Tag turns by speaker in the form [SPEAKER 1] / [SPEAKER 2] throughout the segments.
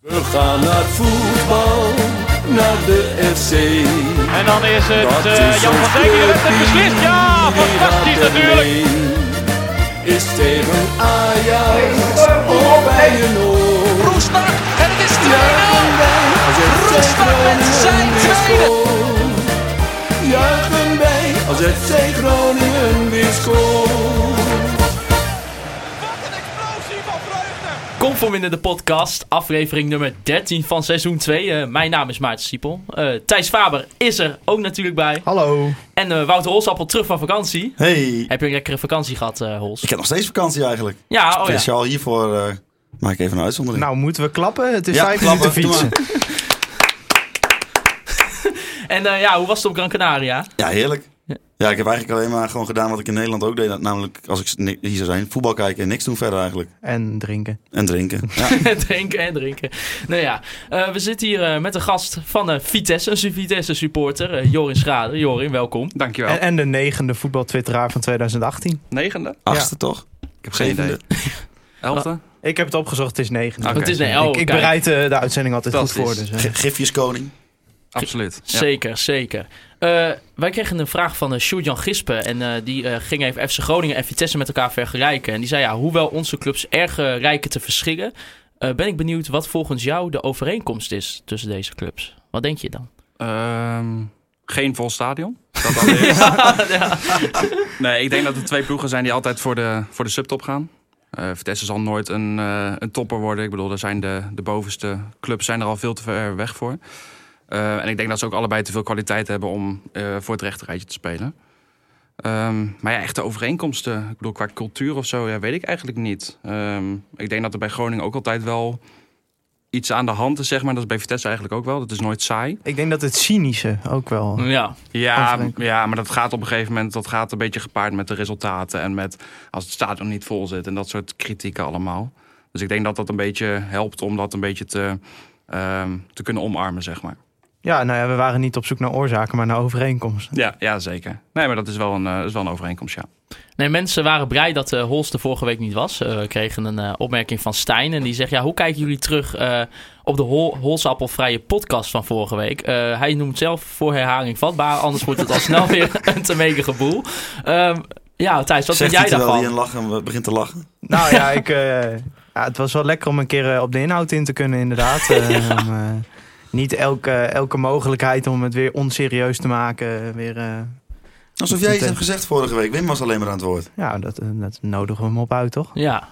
[SPEAKER 1] We gaan naar het voetbal, naar de FC.
[SPEAKER 2] En dan is het
[SPEAKER 1] Dat
[SPEAKER 2] eh,
[SPEAKER 1] is
[SPEAKER 2] Jan
[SPEAKER 1] ons
[SPEAKER 2] van Dijk die heeft het
[SPEAKER 1] clubje,
[SPEAKER 2] beslist. Ja,
[SPEAKER 1] die
[SPEAKER 2] fantastisch
[SPEAKER 1] gaat ermee.
[SPEAKER 2] natuurlijk.
[SPEAKER 1] Is tegen Ajax of bij een oor.
[SPEAKER 3] Roestak en het is 2-0.
[SPEAKER 1] Als FC
[SPEAKER 3] Roestak met zijn
[SPEAKER 1] Groningen weer
[SPEAKER 3] tweede.
[SPEAKER 1] scoort, juichen wij als FC Groningen weer scoort.
[SPEAKER 4] Kom voor binnen de podcast, aflevering nummer 13 van seizoen 2. Eh, mijn naam is Maarten Siepel. Eh, Thijs Faber is er ook natuurlijk bij.
[SPEAKER 5] Hallo.
[SPEAKER 4] En eh, Wouter Holsappel terug van vakantie.
[SPEAKER 5] Hey.
[SPEAKER 4] Heb je een lekkere vakantie gehad, eh Hols?
[SPEAKER 6] Ik heb nog steeds vakantie eigenlijk.
[SPEAKER 4] Ja, oh ja.
[SPEAKER 6] Speciaal hiervoor eh, maak ik even een uitzondering.
[SPEAKER 5] Nou, moeten we klappen? Het is
[SPEAKER 6] Ja,
[SPEAKER 5] vijf
[SPEAKER 6] klappen,
[SPEAKER 5] minuten fietsen.
[SPEAKER 6] doe
[SPEAKER 4] En eh, ja, hoe was het op Gran Canaria?
[SPEAKER 6] ja, heerlijk. Ja, ik heb eigenlijk alleen maar gewoon gedaan wat ik in Nederland ook deed. Namelijk, als ik ni- hier zou zijn, voetbal kijken en niks doen verder eigenlijk.
[SPEAKER 5] En drinken.
[SPEAKER 6] En drinken. Ja,
[SPEAKER 4] drinken en drinken. Nou ja, eh, we zitten hier eh, met een gast van eh, Vitesse, een Vitesse supporter, eh, Jorin Schrader. Jorin, welkom.
[SPEAKER 2] Dankjewel.
[SPEAKER 5] En, en de negende voetbaltwitteraar van 2018.
[SPEAKER 2] Negende?
[SPEAKER 6] achtste toch? Ik heb
[SPEAKER 2] geen idee.
[SPEAKER 6] Zevende.
[SPEAKER 2] Elfte?
[SPEAKER 5] Ik heb het opgezocht, het is negende.
[SPEAKER 2] Oké.
[SPEAKER 4] het is nee, oh,
[SPEAKER 5] ik, ik
[SPEAKER 4] kijk.
[SPEAKER 5] bereid eh, de uitzending altijd goed voor.
[SPEAKER 2] Fantastisch.
[SPEAKER 5] Dus, eh.
[SPEAKER 6] G- Gifjeskoning.
[SPEAKER 2] Absoluut. Ja.
[SPEAKER 4] Zeker, zeker. Eh, wij kregen een vraag van uh, Sjoerd-Jan Gispen. En eh, die eh, ging even FC Groningen en Vitesse met elkaar vergelijken. En die zei, ja, hoewel onze clubs erg eh, rijken te verschillen... eh, ben ik benieuwd wat volgens jou de overeenkomst is tussen deze clubs. Wat denk je dan?
[SPEAKER 2] Ehm, geen vol stadion. Dat allereerst. Nee, ik denk dat er twee ploegen zijn die altijd voor de, voor de subtop gaan. Eh Vitesse zal nooit een, eh, een topper worden. Ik bedoel, daar zijn de, de bovenste clubs zijn er al veel te ver weg voor. Eh, en ik denk dat ze ook allebei te veel kwaliteit hebben om eh, voor het rechterrijtje te spelen. Ehm, maar ja, echte overeenkomsten. Ik bedoel, qua cultuur of zo, ja, weet ik eigenlijk niet. Ehm, ik denk dat er bij Groningen ook altijd wel iets aan de hand is, zeg maar. Dat is bij Vitesse eigenlijk ook wel. Dat is nooit saai.
[SPEAKER 5] Ik denk dat het cynische ook wel.
[SPEAKER 4] Ja,
[SPEAKER 2] Ja,
[SPEAKER 5] Overeenkomst.
[SPEAKER 2] ja, maar dat gaat op een gegeven moment dat gaat een beetje gepaard met de resultaten. En met als het stadion niet vol zit en dat soort kritieken allemaal. Dus ik denk dat dat een beetje helpt om dat een beetje te, ehm, te kunnen omarmen, zeg maar.
[SPEAKER 5] Ja, nou ja, we waren niet op zoek naar oorzaken, maar naar overeenkomsten.
[SPEAKER 2] Ja, ja zeker. Nee, maar dat is wel een, eh, is wel een overeenkomst, ja.
[SPEAKER 4] Nee, mensen waren blij dat eh Holst de vorige week niet was. Eh, we kregen een eh, opmerking van Stijn. En die zegt: ja, Hoe kijken jullie terug eh, op de Hol Holsappelvrije podcast van vorige week? Eh, hij noemt zelf voor herhaling vatbaar. Anders wordt het al snel weer een te mega geboel. Ehm, ja, Thijs, wat vind
[SPEAKER 6] Zegt hij
[SPEAKER 4] jij
[SPEAKER 6] terwijl
[SPEAKER 4] daarvan?
[SPEAKER 6] hij een lachen we- begint te lachen.
[SPEAKER 5] Nou ja, ik, eh, ja, het was wel lekker om een keer eh, op de inhoud in te kunnen, inderdaad. Ehm, eh, niet elke, elke mogelijkheid om het weer onserieus te maken. eh, Weer, eh,
[SPEAKER 6] Alsof jij iets
[SPEAKER 5] Meteen.
[SPEAKER 6] hebt gezegd vorige week. Wim was alleen maar aan het woord.
[SPEAKER 5] ja, dat, eh, dat nodigen we hem op uit, toch?
[SPEAKER 4] Ja,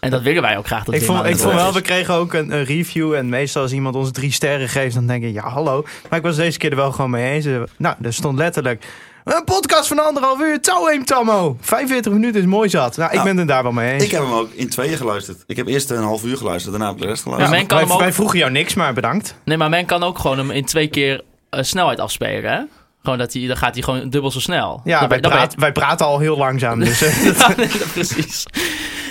[SPEAKER 4] en dat willen wij ook graag. Dat
[SPEAKER 5] Ik
[SPEAKER 4] Wim aan
[SPEAKER 5] vond,
[SPEAKER 4] het
[SPEAKER 5] ik vond
[SPEAKER 4] woord
[SPEAKER 5] wel,
[SPEAKER 4] is.
[SPEAKER 5] we kregen ook een, een review. En meestal als iemand ons drie sterren geeft, dan denk ik, ja, hallo. Maar ik was deze keer er wel gewoon mee eens. Eh, Nou, er stond letterlijk... Een podcast van anderhalf uur, touwheem tammo. 45 minuten is mooi zat. Nou, ik
[SPEAKER 6] Nou,
[SPEAKER 5] ben het daar wel mee eens.
[SPEAKER 6] Ik heb hem ook in tweeën geluisterd. Ik heb eerst een half uur geluisterd, daarna heb ik de rest
[SPEAKER 4] Maar
[SPEAKER 6] geluisterd.
[SPEAKER 4] men kan
[SPEAKER 5] wij,
[SPEAKER 4] hem ook-
[SPEAKER 5] wij vroegen jou niks, maar bedankt.
[SPEAKER 4] Nee, maar men kan ook gewoon hem in twee keer eh, snelheid afspelen. Hè? Gewoon dat hij, dan gaat hij gewoon dubbel zo snel.
[SPEAKER 5] Ja,
[SPEAKER 4] dan,
[SPEAKER 5] wij,
[SPEAKER 4] ben- dan ben je-
[SPEAKER 5] praat- wij praten al heel langzaam. Dus, eh,
[SPEAKER 4] Ja, nee, dat- precies.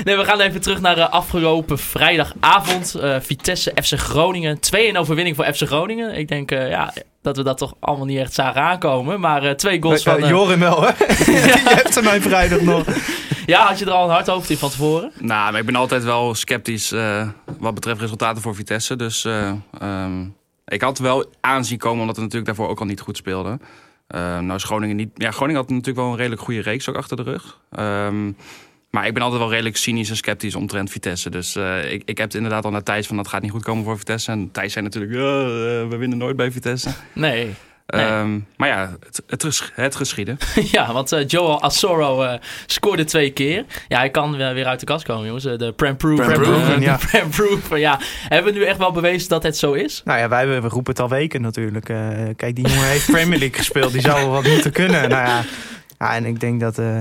[SPEAKER 4] Nee, we gaan even terug naar eh, afgelopen vrijdagavond. Eh, Vitesse FC Groningen. 2-1 overwinning voor FC Groningen. Ik denk eh, ja, dat we dat toch allemaal niet echt zagen aankomen. Maar eh, twee goals van...
[SPEAKER 5] eh,
[SPEAKER 4] eh,
[SPEAKER 5] Jorim wel, hè? Je hebt er mijn vrijdag nog.
[SPEAKER 4] ja, had je er al een hard hoofd in van tevoren?
[SPEAKER 2] Nou, maar ik ben altijd wel sceptisch eh, wat betreft resultaten voor Vitesse. Dus eh, ehm, ik had wel aanzien komen, omdat we natuurlijk daarvoor ook al niet goed speelden. Ehm, nou is Groningen niet... Ja, Groningen had natuurlijk wel een redelijk goede reeks ook achter de rug. Ehm, maar ik ben altijd wel redelijk cynisch en sceptisch omtrent Vitesse. Dus eh, ik, ik heb het inderdaad al naar Thijs van dat gaat niet goed komen voor Vitesse. En Thijs zei natuurlijk, "Ja, eh, we winnen nooit bij Vitesse.
[SPEAKER 4] Nee. Nee.
[SPEAKER 2] Ehm, maar ja, het, het, ges- het geschieden.
[SPEAKER 4] ja, want eh, Joel Asoro eh, scoorde twee keer. Ja, hij kan eh, weer uit de kast komen, jongens. Eh, de Prem Proof.
[SPEAKER 6] Prem
[SPEAKER 5] Proven, ja.
[SPEAKER 4] ja. Hebben we nu echt wel bewezen dat het zo is?
[SPEAKER 5] Nou ja, wij we roepen het al weken natuurlijk. Eh, kijk, die jongen heeft Premier League gespeeld. Die zou wel wat moeten kunnen. Nou ja, ja en ik denk dat eh,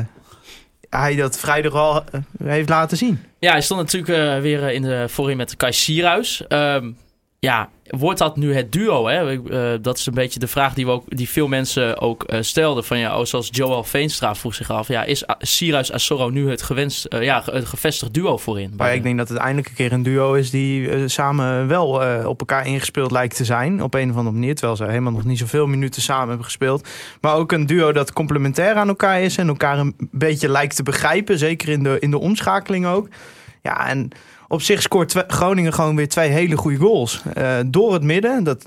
[SPEAKER 5] hij dat vrijdag al eh, heeft laten zien.
[SPEAKER 4] Ja, hij stond natuurlijk eh, weer eh, in de voorin met Kai Sierhuis. Ehm, ja, wordt dat nu het duo? Hè? Ik, eh, dat is een beetje de vraag die, we ook, die veel mensen ook eh, stelden. Van, ja, oh, zoals Joel Veenstra vroeg zich af. Ja, is A- Sierhuis Assoro nu het, gewenst, eh, ja, ge- het gevestigd duo voorin?
[SPEAKER 5] Maar ik denk dat het eindelijk een keer een duo is die eh, samen wel eh, op elkaar ingespeeld lijkt te zijn. Op een of andere manier. Terwijl ze helemaal nog niet zoveel minuten samen hebben gespeeld. Maar ook een duo dat complementair aan elkaar is. En elkaar een beetje lijkt te begrijpen. Zeker in de, in de omschakeling ook. Ja, en op zich scoort twe- Groningen gewoon weer twee hele goede goals. Eh, door het midden, dat,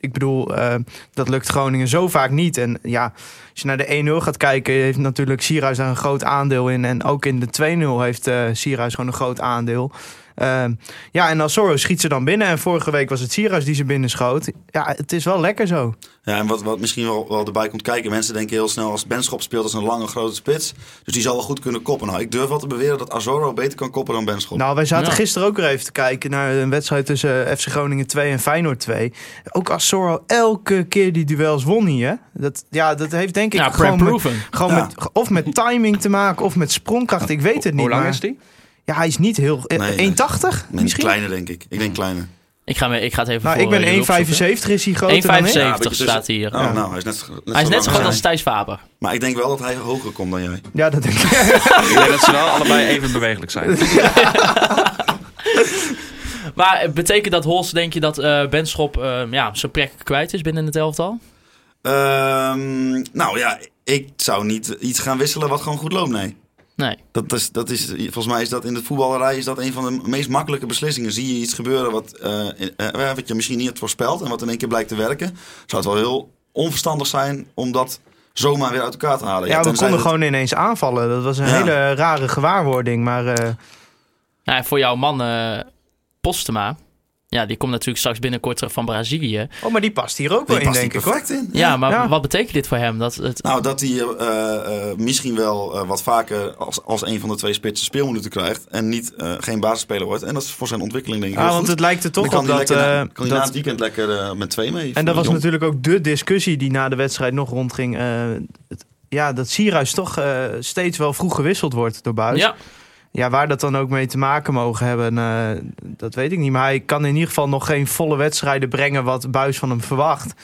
[SPEAKER 5] ik bedoel, eh, dat lukt Groningen zo vaak niet. En ja, als je naar de 1-0 gaat kijken, heeft natuurlijk Sierhuis daar een groot aandeel in. En ook in de 2-0 heeft eh Sierhuis gewoon een groot aandeel. Ehm, ja, en Alsoro schiet ze dan binnen. En vorige week was het Sierhuis die ze binnen schoot. Ja, het is wel lekker zo.
[SPEAKER 6] Ja, en wat, wat misschien wel, wel erbij komt kijken. Mensen denken heel snel als Benschop speelt als een lange grote spits. Dus die zal wel goed kunnen koppen. Nou, ik durf wel te beweren dat Azoro beter kan koppen dan Benschop.
[SPEAKER 5] Nou, wij zaten
[SPEAKER 4] Ja.
[SPEAKER 5] gisteren ook weer even te kijken naar een wedstrijd tussen eh, FC Groningen 2 en Feyenoord 2. Ook Azorro elke keer die duels won hij, hè? Dat, ja, dat heeft denk ik
[SPEAKER 4] Ja,
[SPEAKER 5] gewoon, met,
[SPEAKER 4] proven.
[SPEAKER 5] gewoon
[SPEAKER 6] Ja.
[SPEAKER 5] met- of met timing te maken of met sprongkracht. Ik weet het niet.
[SPEAKER 2] Hoe lang
[SPEAKER 5] maar-
[SPEAKER 2] is die?
[SPEAKER 5] Ja, hij is niet heel... eh,
[SPEAKER 6] Nee, nee.
[SPEAKER 5] 1,80
[SPEAKER 6] Nee,
[SPEAKER 5] misschien?
[SPEAKER 6] kleiner denk ik. Ik denk kleiner.
[SPEAKER 4] Ik ga, me- ik ga het even
[SPEAKER 5] Nou,
[SPEAKER 4] voor
[SPEAKER 5] ik
[SPEAKER 4] eh, jullie
[SPEAKER 5] ben
[SPEAKER 4] opzoeken.
[SPEAKER 5] 1,75 is hij groter dan ik.
[SPEAKER 6] Ja,
[SPEAKER 4] 1,75
[SPEAKER 6] een beetje
[SPEAKER 4] staat
[SPEAKER 6] tussen-
[SPEAKER 4] hier.
[SPEAKER 6] Oh, nou, hij is net, net
[SPEAKER 4] Hij is net zo groot
[SPEAKER 6] lang
[SPEAKER 4] als Thijs Faber.
[SPEAKER 6] Maar ik denk wel dat hij hoger komt dan jij.
[SPEAKER 5] Ja, dat denk ik.
[SPEAKER 2] Ik denk dat ze wel allebei even bewegelijk zijn.
[SPEAKER 4] Maar eh, betekent dat Holst, denk je, dat eh, Benschop eh, ja, zijn plek kwijt is binnen het elftal?
[SPEAKER 6] Ehm, nou ja, ik zou niet iets gaan wisselen wat gewoon goed loopt, nee.
[SPEAKER 4] Nee.
[SPEAKER 6] Dat is, dat is, volgens mij is dat in de voetballerij is dat een van de meest makkelijke beslissingen. Zie je iets gebeuren wat, eh, eh, eh, wat je misschien niet had voorspeld en wat in één keer blijkt te werken, zou het wel heel onverstandig zijn om dat zomaar weer uit elkaar te halen.
[SPEAKER 5] Ja, we
[SPEAKER 6] tenzij
[SPEAKER 5] konden
[SPEAKER 6] dat-
[SPEAKER 5] gewoon ineens aanvallen. Dat was een
[SPEAKER 6] Ja.
[SPEAKER 5] hele rare gewaarwording. Maar eh,
[SPEAKER 4] Nou, en voor jouw man eh, Postema, ja, die komt natuurlijk straks binnenkort terug van Brazilië. Ja,
[SPEAKER 5] oh, maar die past hier ook wel
[SPEAKER 6] die
[SPEAKER 5] in,
[SPEAKER 6] past
[SPEAKER 5] denk
[SPEAKER 6] hier
[SPEAKER 5] ik. hoor.
[SPEAKER 6] perfect in.
[SPEAKER 4] maar
[SPEAKER 5] ja.
[SPEAKER 4] wat betekent dit voor hem? Dat het,
[SPEAKER 6] Nou, dat hij eh, eh, misschien wel eh, wat vaker als, als een van de twee spitsen speelminuten krijgt. En niet, eh, geen basisspeler wordt. En dat is voor zijn ontwikkeling denk ik
[SPEAKER 5] Ja,
[SPEAKER 6] heel
[SPEAKER 5] Ah, want
[SPEAKER 6] goed.
[SPEAKER 5] het lijkt er toch
[SPEAKER 6] Dan
[SPEAKER 5] op
[SPEAKER 6] kan hij
[SPEAKER 5] dat...
[SPEAKER 6] lekker na-
[SPEAKER 5] eh,
[SPEAKER 6] kan hij na
[SPEAKER 5] dat
[SPEAKER 6] het weekend lekker eh, met twee mee.
[SPEAKER 5] en dat was
[SPEAKER 6] Jong.
[SPEAKER 5] natuurlijk ook de discussie die na de wedstrijd nog rondging. eh, het- ja, dat Sierhuis toch eh, steeds wel vroeg gewisseld wordt door Buis.
[SPEAKER 4] ja,
[SPEAKER 5] Ja, waar dat dan ook mee te maken mogen hebben, eh, dat weet ik niet. Maar hij kan in ieder geval nog geen volle wedstrijden brengen wat Buis van hem verwacht.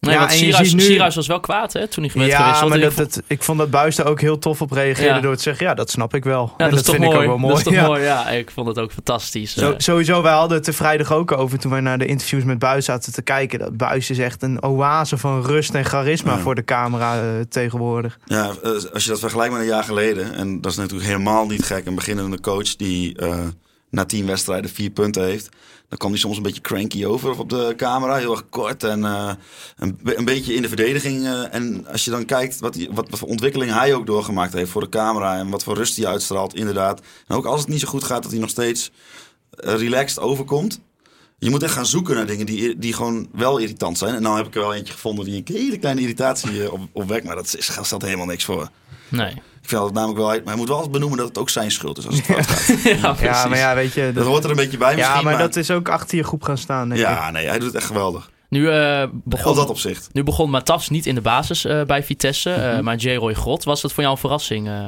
[SPEAKER 4] nee,
[SPEAKER 5] Ja,
[SPEAKER 4] want
[SPEAKER 5] en je
[SPEAKER 4] Sierhuis,
[SPEAKER 5] ziet nu-
[SPEAKER 4] Sierhuis was wel kwaad hè, toen hij werd
[SPEAKER 5] Ja,
[SPEAKER 4] gewisseld.
[SPEAKER 5] maar
[SPEAKER 4] En
[SPEAKER 5] dat,
[SPEAKER 4] ik vond-
[SPEAKER 5] dat, ik vond dat Buis daar ook heel tof op reageerde
[SPEAKER 4] Ja.
[SPEAKER 5] door te zeggen... ja, dat snap ik wel.
[SPEAKER 4] ja,
[SPEAKER 5] en
[SPEAKER 4] dat, is
[SPEAKER 5] dat
[SPEAKER 4] toch
[SPEAKER 5] vind
[SPEAKER 4] mooi.
[SPEAKER 5] ik ook wel mooi.
[SPEAKER 4] Dat is toch
[SPEAKER 5] ja.
[SPEAKER 4] mooi, ja. Ik vond het ook fantastisch.
[SPEAKER 5] Zo-
[SPEAKER 4] Eh,
[SPEAKER 5] sowieso, wij hadden het er vrijdag ook over toen wij naar de interviews met Buis zaten te kijken. Dat Buis is echt een oase van rust en charisma
[SPEAKER 6] Ja.
[SPEAKER 5] voor de camera eh, tegenwoordig.
[SPEAKER 6] Ja, eh, als je dat vergelijkt met een jaar geleden. En dat is natuurlijk helemaal niet gek. Een beginnende coach die eh, na tien wedstrijden vier punten heeft. Dan kwam hij soms een beetje cranky over op de camera. Heel erg kort en eh, een, be- een beetje in de verdediging. eh, en als je dan kijkt wat, die, wat, wat voor ontwikkeling hij ook doorgemaakt heeft voor de camera. En wat voor rust hij uitstraalt, inderdaad. En ook als het niet zo goed gaat, dat hij nog steeds eh, relaxed overkomt. Je moet echt gaan zoeken naar dingen die, die gewoon wel irritant zijn. En nou heb ik er wel eentje gevonden die een hele kleine irritatie eh, op, opwekt. Maar dat is, daar staat helemaal niks voor.
[SPEAKER 4] nee.
[SPEAKER 6] Ik vind dat namelijk wel... Maar hij moet wel eens benoemen dat het ook zijn schuld is als het fout gaat.
[SPEAKER 4] ja, precies.
[SPEAKER 5] Ja, maar ja, weet je...
[SPEAKER 6] Dat
[SPEAKER 5] Dat,
[SPEAKER 6] hoort er een beetje bij misschien,
[SPEAKER 5] ja, maar dat is ook achter je groep gaan staan. Denk ik.
[SPEAKER 6] Ja, nee, hij doet het echt geweldig.
[SPEAKER 4] Nu eh,
[SPEAKER 6] Op
[SPEAKER 4] begon
[SPEAKER 6] dat opzicht.
[SPEAKER 4] Nu begon Matas niet in de basis eh, bij Vitesse, eh,
[SPEAKER 5] Mhm.
[SPEAKER 4] maar J-Roy Grot. Was dat voor jou een verrassing, eh,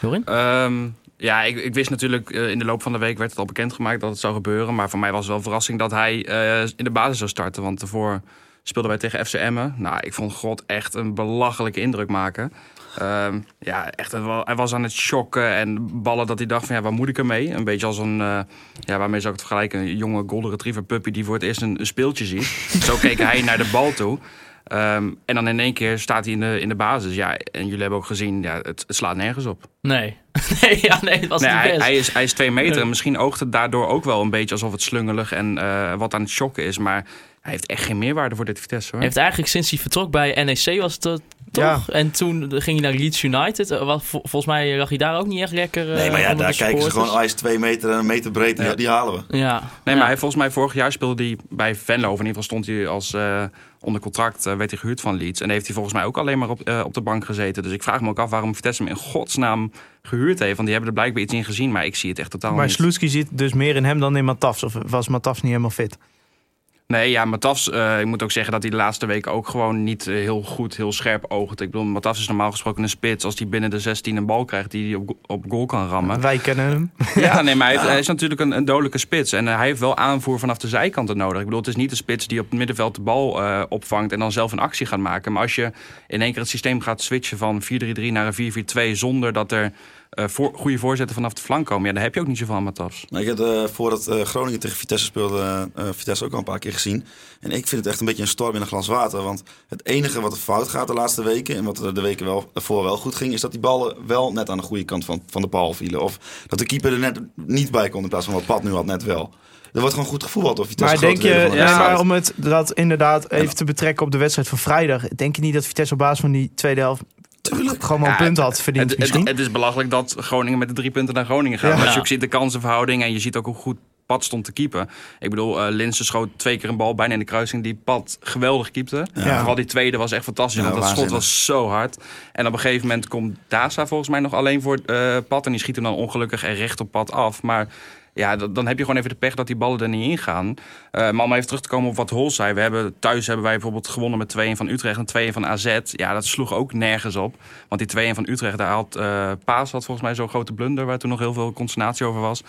[SPEAKER 4] Jorin?
[SPEAKER 2] Ehm, ja, ik, ik wist natuurlijk, eh, in de loop van de week werd het al bekendgemaakt dat het zou gebeuren. Maar voor mij was het wel een verrassing dat hij eh, in de basis zou starten. Want daarvoor speelden wij tegen FC Emmen. Nou, ik vond God echt een belachelijke indruk maken. Ehm, ja, echt, hij wa- hij was aan het shocken en ballen dat hij dacht van ja, waar moet ik ermee? Een beetje als een, eh, ja, waarmee zou ik het vergelijken? Een jonge golden retriever puppy die voor het eerst een, een speeltje ziet. Zo keek hij naar de bal toe. Ehm, en dan in één keer staat hij in de, in de basis. Ja, en jullie hebben ook gezien, ja, het, het slaat nergens op.
[SPEAKER 4] Nee. nee, ja, nee, het was
[SPEAKER 2] Nee,
[SPEAKER 4] niet
[SPEAKER 2] hij,
[SPEAKER 4] best.
[SPEAKER 2] hij, is, hij is twee meter.
[SPEAKER 4] Ja.
[SPEAKER 2] en Misschien oogt het daardoor ook wel een beetje alsof het slungelig en eh, wat aan het shocken is. Maar hij heeft echt geen meerwaarde voor dit Vitesse hoor.
[SPEAKER 4] Hij heeft eigenlijk sinds hij vertrok bij NEC was het eh,
[SPEAKER 5] Ja.
[SPEAKER 4] toch? En toen ging hij naar Leeds United. Eh, wat, vol- volgens mij lag hij daar ook niet echt lekker eh,
[SPEAKER 6] Nee, maar ja,
[SPEAKER 4] onder de
[SPEAKER 6] daar kijken ze
[SPEAKER 4] supporters.
[SPEAKER 6] gewoon... Hij is twee meter en een meter breed. Die,
[SPEAKER 2] Ja.
[SPEAKER 6] die halen we.
[SPEAKER 4] Ja.
[SPEAKER 2] Nee,
[SPEAKER 4] Ja.
[SPEAKER 2] maar hij, volgens mij vorig jaar speelde hij bij Venlo. Of in ieder geval stond hij als eh, onder contract, eh, werd hij gehuurd van Leeds. En heeft hij volgens mij ook alleen maar op, eh, op de bank gezeten. Dus ik vraag me ook af waarom Vitesse hem in godsnaam gehuurd heeft. Want die hebben er blijkbaar iets in gezien, maar ik zie het echt totaal
[SPEAKER 5] Maar
[SPEAKER 2] niet.
[SPEAKER 5] Sloetski zit dus meer in hem dan in Matafs. Of was Matafs niet helemaal fit?
[SPEAKER 2] Nee, ja, Matafs, eh, ik moet ook zeggen dat hij de laatste weken ook gewoon niet eh, heel goed, heel scherp oogt. Ik bedoel, Matafs is normaal gesproken een spits. Als hij binnen de 16 een bal krijgt die hij op, go- op goal kan rammen.
[SPEAKER 5] Wij kennen hem.
[SPEAKER 2] Ja, nee, maar hij, heeft- hij is natuurlijk een, een dodelijke spits. En eh, hij heeft wel aanvoer vanaf de zijkanten nodig. Ik bedoel, het is niet een spits die op het middenveld de bal eh, opvangt en dan zelf een actie gaat maken. Maar als je in één keer het systeem gaat switchen van 4-3-3 naar een 4-4-2 zonder dat er eh, voor, goede voorzetten vanaf de flank komen. Ja, daar heb je ook niet zoveel aan Matas.
[SPEAKER 6] Nou, ik heb eh, voordat eh, Groningen tegen Vitesse speelde, eh, eh, Vitesse ook al een paar keer gezien. En ik vind het echt een beetje een storm in een glas water. Want het enige wat er fout gaat de laatste weken, en wat er de weken wel, ervoor wel goed ging, is dat die ballen wel net aan de goede kant van, van de paal vielen. Of dat de keeper er net niet bij kon in plaats van wat Pat nu had net wel. Er wordt gewoon goed gevoetbald of Vitesse
[SPEAKER 5] Maar denk
[SPEAKER 6] grote
[SPEAKER 5] je,
[SPEAKER 6] delen van de
[SPEAKER 5] nee,
[SPEAKER 6] wedstrijd.
[SPEAKER 5] maar om het dat inderdaad even te betrekken op de wedstrijd van vrijdag, denk je niet dat Vitesse op basis van die tweede helft gewoon wel een
[SPEAKER 2] Ja,
[SPEAKER 5] punt had
[SPEAKER 2] Het,
[SPEAKER 5] verdiend
[SPEAKER 2] het-
[SPEAKER 5] misschien?
[SPEAKER 2] het is belachelijk dat Groningen met de drie punten naar Groningen gaat.
[SPEAKER 5] Ja.
[SPEAKER 2] Maar als je
[SPEAKER 4] Ja.
[SPEAKER 2] ook ziet de kansenverhouding en je ziet ook hoe goed Pat stond te keepen. Ik bedoel, eh Linsen schoot twee keer een bal bijna in de kruising die Pat geweldig keepte.
[SPEAKER 5] Ja.
[SPEAKER 2] Vooral die tweede was echt fantastisch,
[SPEAKER 6] Ja,
[SPEAKER 2] want dat schot
[SPEAKER 6] waanzinnig.
[SPEAKER 2] was zo hard. En op een gegeven moment komt Daza volgens mij nog alleen voor eh Pat. En die schiet hem dan ongelukkig en recht op Pat af. Maar ja, dat- dan heb je gewoon even de pech dat die ballen er niet in gaan. Eh, maar om even terug te komen op wat Hol zei. We hebben, thuis hebben wij bijvoorbeeld gewonnen met 2-1 van Utrecht en 2-1 van AZ. Ja, dat sloeg ook nergens op. Want die 2-1 van Utrecht, daar had eh, Paas had volgens mij zo'n grote blunder... waar toen nog heel veel consternatie over was.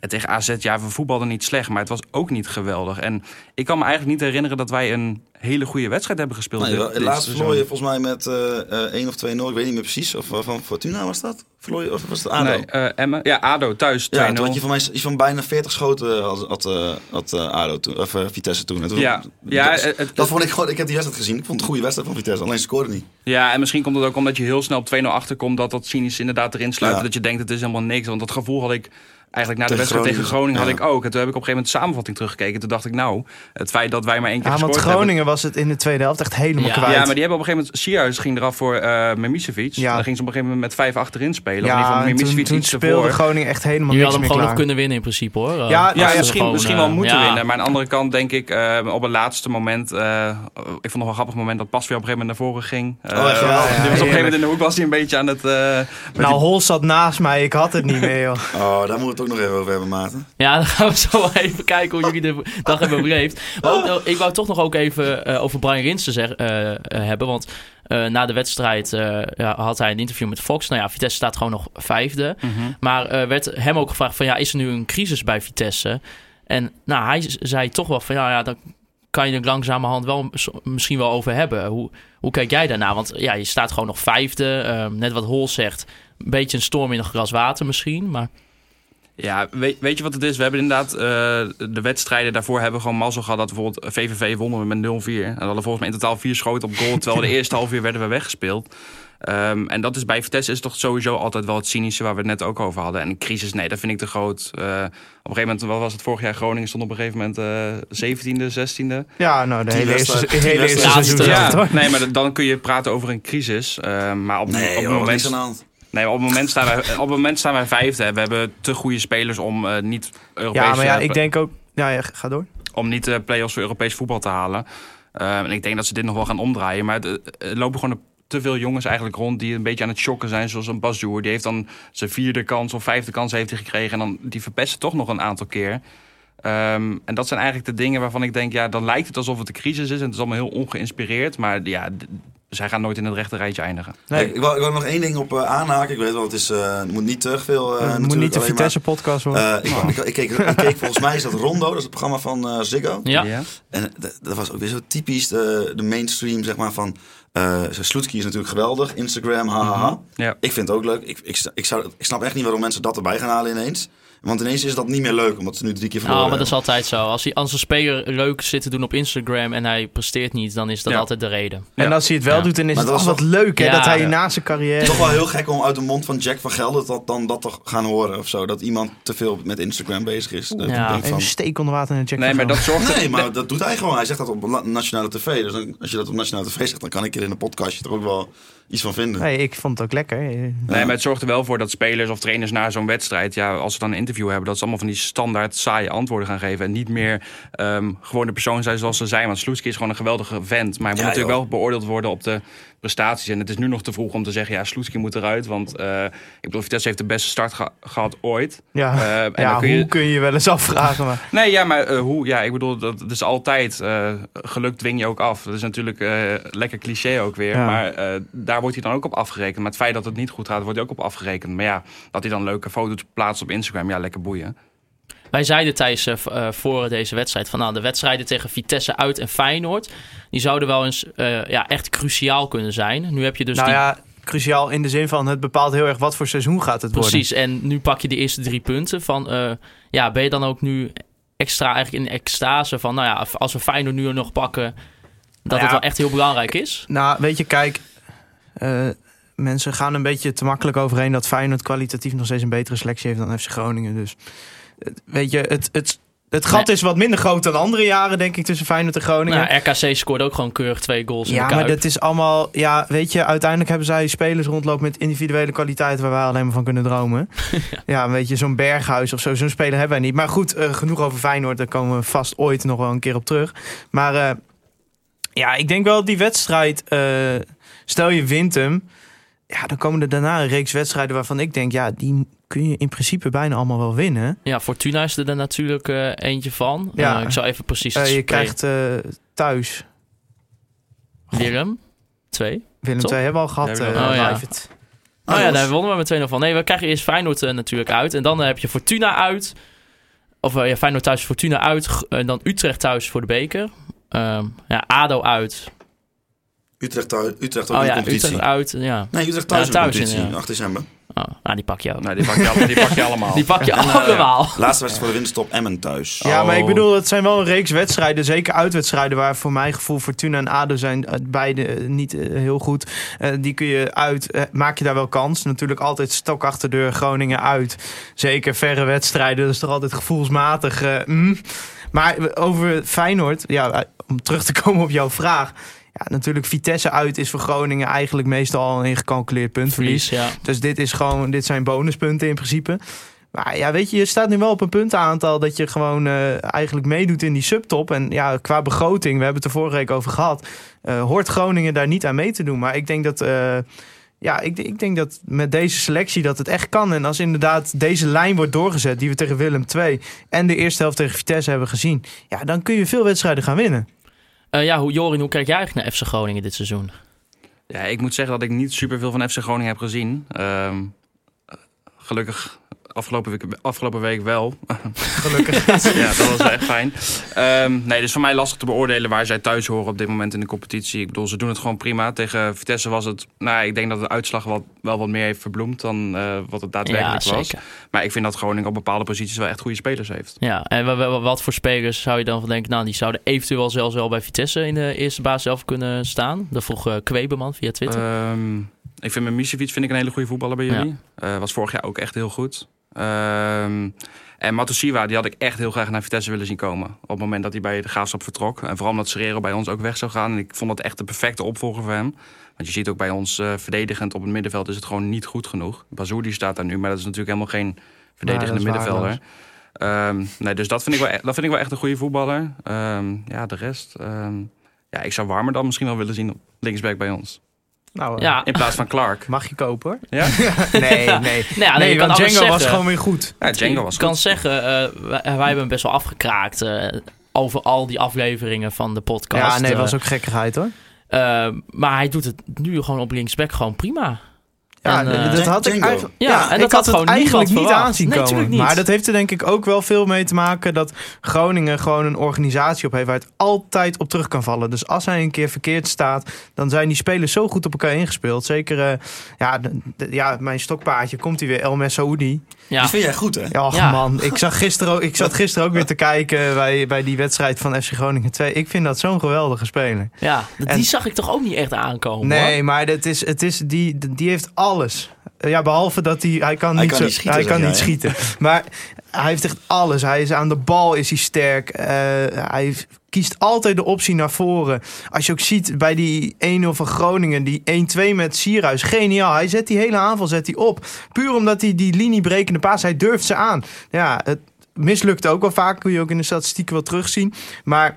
[SPEAKER 2] En tegen AZ, ja, we voetbalden niet slecht, maar het was ook niet geweldig. En ik kan me eigenlijk niet herinneren dat wij een hele goede wedstrijd hebben gespeeld.
[SPEAKER 6] Nee,
[SPEAKER 2] dit-
[SPEAKER 6] wel-
[SPEAKER 2] dit
[SPEAKER 6] laatst
[SPEAKER 2] seizoen.
[SPEAKER 6] verloor je volgens mij met eh, eh, 1 of 2-0, ik weet niet meer precies. Of eh, van Fortuna was dat? Verloor je, of was het ADO?
[SPEAKER 2] Nee, eh, Emmen. Ja, ADO thuis 2-0.
[SPEAKER 6] Ja, toen had je van mij iets van bijna 40 schoten had, had, eh, had eh, ADO toen, of eh, Vitesse toen. En toen-
[SPEAKER 2] Ja. Ja,
[SPEAKER 6] dat,
[SPEAKER 2] het- het-
[SPEAKER 6] dat vond ik gewoon, ik heb die wedstrijd gezien. Ik vond het een goede wedstrijd van Vitesse, alleen ze scoorden niet.
[SPEAKER 2] Ja, en misschien komt het ook omdat je heel snel op 2-0 achterkomt... dat dat cynisch inderdaad erin sluit.
[SPEAKER 6] Ja.
[SPEAKER 2] Dat je denkt, het is helemaal niks. Want dat gevoel had ik eigenlijk na de
[SPEAKER 6] Tegen
[SPEAKER 2] wedstrijd tegen
[SPEAKER 6] Groningen,
[SPEAKER 2] Groningen had
[SPEAKER 6] ja.
[SPEAKER 2] ik ook. En toen heb ik op een gegeven moment de samenvatting teruggekeken. Toen dacht ik, nou, het feit dat wij maar één keer
[SPEAKER 5] Ja, want
[SPEAKER 2] gescoord
[SPEAKER 5] Groningen
[SPEAKER 2] hebben...
[SPEAKER 5] was het in de tweede helft echt helemaal
[SPEAKER 4] Ja.
[SPEAKER 5] kwijt.
[SPEAKER 2] Ja, maar die hebben op een gegeven moment... Sierhuis ging eraf voor eh Memicevic.
[SPEAKER 5] Ja.
[SPEAKER 2] Dan ging ze op een gegeven moment met vijf achterin spelen. Ja, in
[SPEAKER 5] Ja,
[SPEAKER 2] ieder geval
[SPEAKER 5] en toen,
[SPEAKER 2] Memicevic
[SPEAKER 5] toen
[SPEAKER 2] iets
[SPEAKER 5] speelde
[SPEAKER 2] ervoor.
[SPEAKER 5] Groningen echt helemaal
[SPEAKER 4] Jullie
[SPEAKER 5] niks
[SPEAKER 4] hadden hem
[SPEAKER 5] meer
[SPEAKER 4] gewoon nog
[SPEAKER 5] klaar.
[SPEAKER 4] kunnen winnen in principe hoor. Eh,
[SPEAKER 5] Ja,
[SPEAKER 4] als
[SPEAKER 2] Ja,
[SPEAKER 4] ze
[SPEAKER 2] misschien,
[SPEAKER 4] gewoon,
[SPEAKER 2] misschien
[SPEAKER 4] eh,
[SPEAKER 2] wel moeten
[SPEAKER 4] ja.
[SPEAKER 2] winnen. Maar aan de andere kant denk ik eh, op het laatste moment... eh, ik vond het nog wel een grappig moment dat Pas weer op een gegeven moment naar voren ging. Eh,
[SPEAKER 6] Oh, echt wel?
[SPEAKER 2] die
[SPEAKER 6] Ja,
[SPEAKER 2] was op een gegeven
[SPEAKER 5] heerlijk.
[SPEAKER 2] moment in de hoek was hij een beetje aan het... eh, met
[SPEAKER 5] Nou, Hol zat naast mij, ik had het niet meer joh.
[SPEAKER 6] Oh, daar moeten we het ook nog even over hebben, Maarten.
[SPEAKER 4] Ja, dan gaan we zo wel even kijken hoe jullie de dag hebben beleefd. Maar ook, eh, ik wou toch nog ook even eh, over Brian Rinsen zeg, eh, eh, hebben. Want eh, na de wedstrijd eh, ja, had hij een interview met Fox. Nou ja, Vitesse staat gewoon nog vijfde. Maar eh, werd hem ook gevraagd van ja, is er nu een crisis bij Vitesse? En nou, hij z- zei toch wel van ja, ja dan kan je er langzamerhand wel mis- misschien wel over hebben. Hoe, hoe kijk jij daarna? Want ja, je staat gewoon nog vijfde. eh, net wat Hol zegt, een beetje een storm in een gras water misschien. Maar
[SPEAKER 2] Ja, weet, weet je wat het is? We hebben inderdaad eh, de wedstrijden daarvoor hebben we gewoon mazzel gehad. Dat bijvoorbeeld eh, VVV wonnen we met 0-4. En we hadden volgens mij in totaal vier schoten op goal. Terwijl we de eerste half uur werden we weggespeeld. Ehm, en dat is bij Vitesse is toch sowieso altijd wel het cynische waar we het net ook over hadden. En een crisis, nee, dat vind ik te groot. Eh, op een gegeven moment, wat was het vorig jaar? Groningen stond op een gegeven moment eh 17e, 16e.
[SPEAKER 5] Ja, nou, de
[SPEAKER 6] Die
[SPEAKER 5] hele eerste,
[SPEAKER 6] wedstrijd-
[SPEAKER 5] hele
[SPEAKER 6] die
[SPEAKER 5] eerste
[SPEAKER 4] wedstrijd-
[SPEAKER 5] seizoen
[SPEAKER 4] Laatste.
[SPEAKER 5] zat het, hoor.
[SPEAKER 2] nee, maar dan- dan kun je praten over een crisis. Eh, maar op, op
[SPEAKER 6] Nee,
[SPEAKER 2] het
[SPEAKER 6] joh, wat
[SPEAKER 2] moment
[SPEAKER 6] is er nou? aan de hand?
[SPEAKER 2] Nee, maar op het moment staan wij, op het moment staan wij vijfde. hè. We hebben te goede spelers om eh, niet Europese,
[SPEAKER 5] Ja, maar ja, ik denk ook... nou Ja, ja, ga door.
[SPEAKER 2] om niet de play-offs voor Europees voetbal te halen. Eh, en ik denk dat ze dit nog wel gaan omdraaien. Maar het, eh, er lopen gewoon te veel jongens eigenlijk rond die een beetje aan het shocken zijn. Zoals een Basjoer. Die heeft dan zijn vierde kans of vijfde kans heeft hij gekregen. En dan, die verpesten toch nog een aantal keer. Ehm, en dat zijn eigenlijk de dingen waarvan ik denk... ja, dan lijkt het alsof het een crisis is. En het is allemaal heel ongeïnspireerd. Maar ja, d- zij gaan nooit in het rechte rijtje eindigen.
[SPEAKER 5] Nee.
[SPEAKER 6] Ik, ik wou, ik wou nog één ding op eh, aanhaken. Ik weet wel, het is, eh, het moet niet te veel. eh,
[SPEAKER 5] Het moet
[SPEAKER 6] natuurlijk,
[SPEAKER 5] niet de
[SPEAKER 6] alleen maar-
[SPEAKER 5] Vitesse-podcast worden.
[SPEAKER 6] Eh, ik, wou- ik, ik keek, ik keek volgens mij is dat Rondo, dat is het programma van eh, Ziggo.
[SPEAKER 4] ja.
[SPEAKER 6] En d- dat was ook weer zo typisch eh, de, de mainstream, zeg maar, van... eh Sloetski is natuurlijk geweldig, Instagram, hahaha.
[SPEAKER 2] Ja.
[SPEAKER 6] Ik vind het ook leuk. Ik, ik, sta- ik, zou, ik snap echt niet waarom mensen dat erbij gaan halen ineens. Want ineens is dat niet meer leuk, omdat ze nu drie keer verloren
[SPEAKER 4] Nou, maar dat
[SPEAKER 5] eh,
[SPEAKER 4] is
[SPEAKER 6] hebben.
[SPEAKER 4] altijd zo. Als, hij, als een speler leuk zit te doen op Instagram en hij presteert niet, dan is dat
[SPEAKER 2] Ja.
[SPEAKER 4] altijd de reden.
[SPEAKER 5] en
[SPEAKER 2] ja.
[SPEAKER 5] als hij het wel
[SPEAKER 4] Ja.
[SPEAKER 5] doet, dan is
[SPEAKER 6] Eh, Maar
[SPEAKER 5] het
[SPEAKER 6] dat
[SPEAKER 5] oh,
[SPEAKER 6] was
[SPEAKER 5] wat leuk, hè?
[SPEAKER 4] Ja,
[SPEAKER 5] dat hij
[SPEAKER 4] ja.
[SPEAKER 5] na zijn carrière...
[SPEAKER 6] Toch wel heel gek om uit de mond van Jack van Gelder dat, dan dat te gaan horen of zo. Dat iemand te veel met Instagram bezig is. Dat
[SPEAKER 4] Ja.
[SPEAKER 6] ik denk
[SPEAKER 5] Even
[SPEAKER 6] van,
[SPEAKER 5] een steek onder water en check
[SPEAKER 2] Nee, maar dat zorgt
[SPEAKER 6] Nee, maar dat doet hij gewoon. Hij zegt dat op la- nationale tv. Dus dan, als je dat op nationale tv zegt, dan kan ik er in een podcastje er ook wel iets van vinden.
[SPEAKER 5] Nee, ik vond het ook lekker.
[SPEAKER 2] Nee, maar het zorgt er wel voor dat spelers of trainers na zo'n wedstrijd, ja, als ze dan een interview hebben, dat ze allemaal van die standaard saaie antwoorden gaan geven. En niet meer ehm, gewoon de persoon zijn zoals ze zijn. Want Sloetski is gewoon een geweldige vent. Maar hij moet
[SPEAKER 6] Ja,
[SPEAKER 2] natuurlijk
[SPEAKER 6] joh.
[SPEAKER 2] wel beoordeeld worden op de prestaties. En het is nu nog te vroeg om te zeggen, ja, Sloetski moet eruit. Want eh, ik bedoel, Vitesse heeft de beste start geha- gehad ooit.
[SPEAKER 5] Ja,
[SPEAKER 2] Eh, en
[SPEAKER 5] ja
[SPEAKER 2] dan kun je-
[SPEAKER 5] hoe kun je je wel eens afvragen. Maar...
[SPEAKER 2] Nee, ja, maar eh, hoe? Ja, ik bedoel, dat, dat is altijd. eh, geluk dwing je ook af. Dat is natuurlijk eh, lekker cliché ook weer.
[SPEAKER 5] Ja.
[SPEAKER 2] Maar eh, daar wordt hij dan ook op afgerekend. Maar het feit dat het niet goed gaat, wordt hij ook op afgerekend. Maar ja, dat hij dan leuke foto's plaatst op Instagram, ja, lekker boeien.
[SPEAKER 4] Wij zeiden tijdens eh, v- eh, voor deze wedstrijd van nou, de wedstrijden tegen Vitesse uit en Feyenoord, die zouden wel eens eh, ja, echt cruciaal kunnen zijn. Nu heb je dus
[SPEAKER 5] nou
[SPEAKER 4] die...
[SPEAKER 5] ja, cruciaal in de zin van het bepaalt heel erg wat voor seizoen gaat het worden.
[SPEAKER 4] Precies, en nu pak je de eerste drie punten. Van, eh, ja, ben je dan ook nu extra eigenlijk in extase van, nou ja, als we Feyenoord nu nog pakken, dat
[SPEAKER 5] Nou ja.
[SPEAKER 4] het wel echt heel belangrijk is?
[SPEAKER 5] Nou, weet je, kijk. eh, mensen gaan een beetje te makkelijk overheen dat Feyenoord kwalitatief nog steeds een betere selectie heeft dan FC Groningen. Dus eh, weet je, het, het, het gat
[SPEAKER 4] Nee.
[SPEAKER 5] is wat minder groot dan andere jaren, denk ik, tussen Feyenoord en Groningen.
[SPEAKER 4] Nou, RKC scoorde ook gewoon keurig twee goals in
[SPEAKER 5] ja,
[SPEAKER 4] de
[SPEAKER 5] maar
[SPEAKER 4] Kuip.
[SPEAKER 5] dat is allemaal. Ja, weet je, uiteindelijk hebben zij spelers rondlopen met individuele kwaliteiten waar wij alleen maar van kunnen dromen. ja. weet je, zo'n berghuis of zo, zo'n speler hebben wij niet. Maar goed, eh, genoeg over Feyenoord, daar komen we vast ooit nog wel een keer op terug. Maar eh, ja, ik denk wel die wedstrijd. eh, stel je wint hem. Ja, dan komen er daarna een reeks wedstrijden waarvan ik denk, ja, die kun je in principe bijna allemaal wel winnen.
[SPEAKER 4] Ja, Fortuna is er dan natuurlijk eh, eentje van.
[SPEAKER 5] Ja.
[SPEAKER 4] Eh, ik zal even precies
[SPEAKER 5] Eh,
[SPEAKER 4] het
[SPEAKER 5] je
[SPEAKER 4] spelen.
[SPEAKER 5] krijgt eh, thuis.
[SPEAKER 4] Willem, twee.
[SPEAKER 5] Willem
[SPEAKER 4] Top.
[SPEAKER 5] II hebben we al
[SPEAKER 2] Ja,
[SPEAKER 5] gehad. eh
[SPEAKER 2] we hebben
[SPEAKER 4] al- Oh, ja.
[SPEAKER 5] live het.
[SPEAKER 4] Oh ja,
[SPEAKER 6] Alles.
[SPEAKER 4] daar wonnen we met 2-0 van. Nee, we krijgen eerst Feyenoord eh, natuurlijk uit. En dan eh, heb je Fortuna uit. Of eh, ja, Feyenoord thuis, Fortuna uit. G- En dan Utrecht thuis voor de beker. Ehm, ja, ADO uit.
[SPEAKER 6] Utrecht, thuis- Utrecht ook
[SPEAKER 4] Oh
[SPEAKER 6] in de
[SPEAKER 4] ja,
[SPEAKER 6] competitie.
[SPEAKER 4] Utrecht uit. Ja.
[SPEAKER 6] Nee, Utrecht thuis,
[SPEAKER 4] Ja, thuis
[SPEAKER 6] in
[SPEAKER 4] in,
[SPEAKER 6] de competitie,
[SPEAKER 4] ja.
[SPEAKER 6] 8 december.
[SPEAKER 4] Oh, nou, die pak je ook.
[SPEAKER 2] Nee, die pak je, al- die pak je allemaal.
[SPEAKER 4] Die pak je
[SPEAKER 2] En, eh,
[SPEAKER 4] allemaal.
[SPEAKER 6] Laatste wedstrijd voor de winterstop, Emmen thuis.
[SPEAKER 5] Ja, maar ik
[SPEAKER 4] Oh.
[SPEAKER 5] bedoel, het zijn wel een reeks wedstrijden. Zeker uitwedstrijden waar voor mijn gevoel Fortuna en ADO zijn eh, beide eh, niet eh, heel goed. Eh, die kun je uit, eh, maak je daar wel kans. Natuurlijk altijd stok achter de deur Groningen uit. Zeker verre wedstrijden, dat is toch altijd gevoelsmatig. eh, mm. Maar eh, over Feyenoord, ja, eh, om terug te komen op jouw vraag. Ja, natuurlijk Vitesse uit is voor Groningen eigenlijk meestal een ingecalculeerd puntverlies.
[SPEAKER 4] Verlies, ja.
[SPEAKER 5] Dus dit, is gewoon, dit zijn bonuspunten in principe. Maar ja, weet je, je staat nu wel op een puntenaantal dat je gewoon eh, eigenlijk meedoet in die subtop. En ja, qua begroting, we hebben het er vorige week over gehad, eh, hoort Groningen daar niet aan mee te doen. Maar ik denk dat, eh, ja, ik, ik denk dat met deze selectie dat het echt kan. En als inderdaad deze lijn wordt doorgezet, die we tegen Willem II en de eerste helft tegen Vitesse hebben gezien, ja, dan kun je veel wedstrijden gaan winnen.
[SPEAKER 4] Eh, ja, hoe, Jorin, hoe kijk jij eigenlijk naar FC Groningen dit seizoen?
[SPEAKER 2] Ja, ik moet zeggen dat ik niet superveel van FC Groningen heb gezien. Ehm, gelukkig afgelopen week, afgelopen week wel.
[SPEAKER 5] Gelukkig.
[SPEAKER 2] ja, dat was wel echt fijn. Ehm, nee, dus voor mij lastig te beoordelen waar zij thuis horen op dit moment in de competitie. Ik bedoel, ze doen het gewoon prima. Tegen Vitesse was het... Nou, ik denk dat de uitslag wat, wel wat meer heeft verbloemd dan eh, wat het
[SPEAKER 4] Ja,
[SPEAKER 2] daadwerkelijk was.
[SPEAKER 4] zeker.
[SPEAKER 2] Maar ik vind dat Groningen op bepaalde posities wel echt goede spelers heeft.
[SPEAKER 4] Ja, en wa- wa- wat voor spelers zou je dan van denken, nou, die zouden eventueel zelfs wel bij Vitesse in de eerste baas zelf kunnen staan? Dat vroeg eh, Kwebeman via Twitter.
[SPEAKER 2] Ehm, ik vind Mimicevic vind ik een hele goede voetballer bij jullie. Eh, was vorig jaar ook echt heel goed. Ehm, en Matosiwa, die had ik echt heel graag naar Vitesse willen zien komen. Op het moment dat hij bij de Graafschap vertrok. En vooral omdat Serrero bij ons ook weg zou gaan. En ik vond dat echt de perfecte opvolger voor hem. Want je ziet ook bij ons eh, verdedigend op het middenveld is het gewoon niet goed genoeg. Bazoer die staat daar nu, maar dat is natuurlijk helemaal geen verdedigende
[SPEAKER 5] Nee, dat is
[SPEAKER 2] middenvelder. Ehm, nee, dus dat vind, ik wel, e- dat vind ik wel echt een goede voetballer. Ehm, ja, de rest. ehm, ja, ik zou Warmer dan misschien wel willen zien op linksback bij ons.
[SPEAKER 5] nou, eh,
[SPEAKER 4] ja,
[SPEAKER 2] In plaats van Clark.
[SPEAKER 5] mag je kopen hoor.
[SPEAKER 2] Ja,
[SPEAKER 5] Nee, nee.
[SPEAKER 4] Nou ja, nee,
[SPEAKER 5] nee,
[SPEAKER 4] je kan
[SPEAKER 5] want
[SPEAKER 4] alles
[SPEAKER 5] Django was
[SPEAKER 4] zeggen.
[SPEAKER 5] gewoon weer goed.
[SPEAKER 2] ja Django
[SPEAKER 4] Ik
[SPEAKER 2] was
[SPEAKER 4] kan
[SPEAKER 2] goed.
[SPEAKER 4] zeggen, eh, wij, wij hebben hem best wel afgekraakt eh, over al die afleveringen van de podcast.
[SPEAKER 5] Ja, nee,
[SPEAKER 4] Eh,
[SPEAKER 5] was ook gekkigheid hoor.
[SPEAKER 4] eh, maar hij doet het nu gewoon op linksback gewoon prima.
[SPEAKER 5] Ja,
[SPEAKER 4] En, eh,
[SPEAKER 5] dat had ik
[SPEAKER 6] Django.
[SPEAKER 5] eigenlijk.
[SPEAKER 4] Ja, en
[SPEAKER 5] ik
[SPEAKER 4] dat had
[SPEAKER 5] had
[SPEAKER 4] gewoon
[SPEAKER 5] het
[SPEAKER 4] niemand
[SPEAKER 5] eigenlijk niet
[SPEAKER 4] verwacht.
[SPEAKER 5] aanzien
[SPEAKER 4] Nee,
[SPEAKER 5] komen.
[SPEAKER 4] tuurlijk niet.
[SPEAKER 5] Maar dat heeft er denk ik ook wel veel mee te maken dat Groningen gewoon een organisatie op heeft waar het altijd op terug kan vallen. Dus als hij een keer verkeerd staat, dan zijn die spelers zo goed op elkaar ingespeeld. Zeker, eh, ja, de- de- ja, mijn stokpaardje komt hij weer, El Messaoudi.
[SPEAKER 4] Ja,
[SPEAKER 6] Die vind jij goed, hè?
[SPEAKER 5] Ja,
[SPEAKER 4] Ja.
[SPEAKER 5] man, ik, zag gisteren ook, ik zat gisteren ook weer te kijken bij, bij die wedstrijd van FC Groningen 2. Ik vind dat zo'n geweldige speler.
[SPEAKER 4] ja die
[SPEAKER 5] En-
[SPEAKER 4] zag ik toch ook niet echt aankomen. hoor.
[SPEAKER 5] Nee, maar het is, het is, die, die heeft alles. Ja, behalve dat hij... Hij kan
[SPEAKER 6] Hij
[SPEAKER 5] niet,
[SPEAKER 6] kan
[SPEAKER 5] zo-
[SPEAKER 6] niet schieten,
[SPEAKER 5] hij kan
[SPEAKER 6] zeg
[SPEAKER 5] niet
[SPEAKER 6] jij,
[SPEAKER 5] schieten. Maar hij heeft echt alles. Hij is aan de bal is hij sterk. Eh, hij kiest altijd de optie naar voren. Als je ook ziet bij die 1-0 van Groningen, die 1-2 met Sierhuis. Geniaal. Hij zet die hele aanval zet hij op. Puur omdat hij die liniebrekende paas, hij durft ze aan. Ja, het mislukt ook wel vaak. Kun je ook in de statistieken wel terugzien. Maar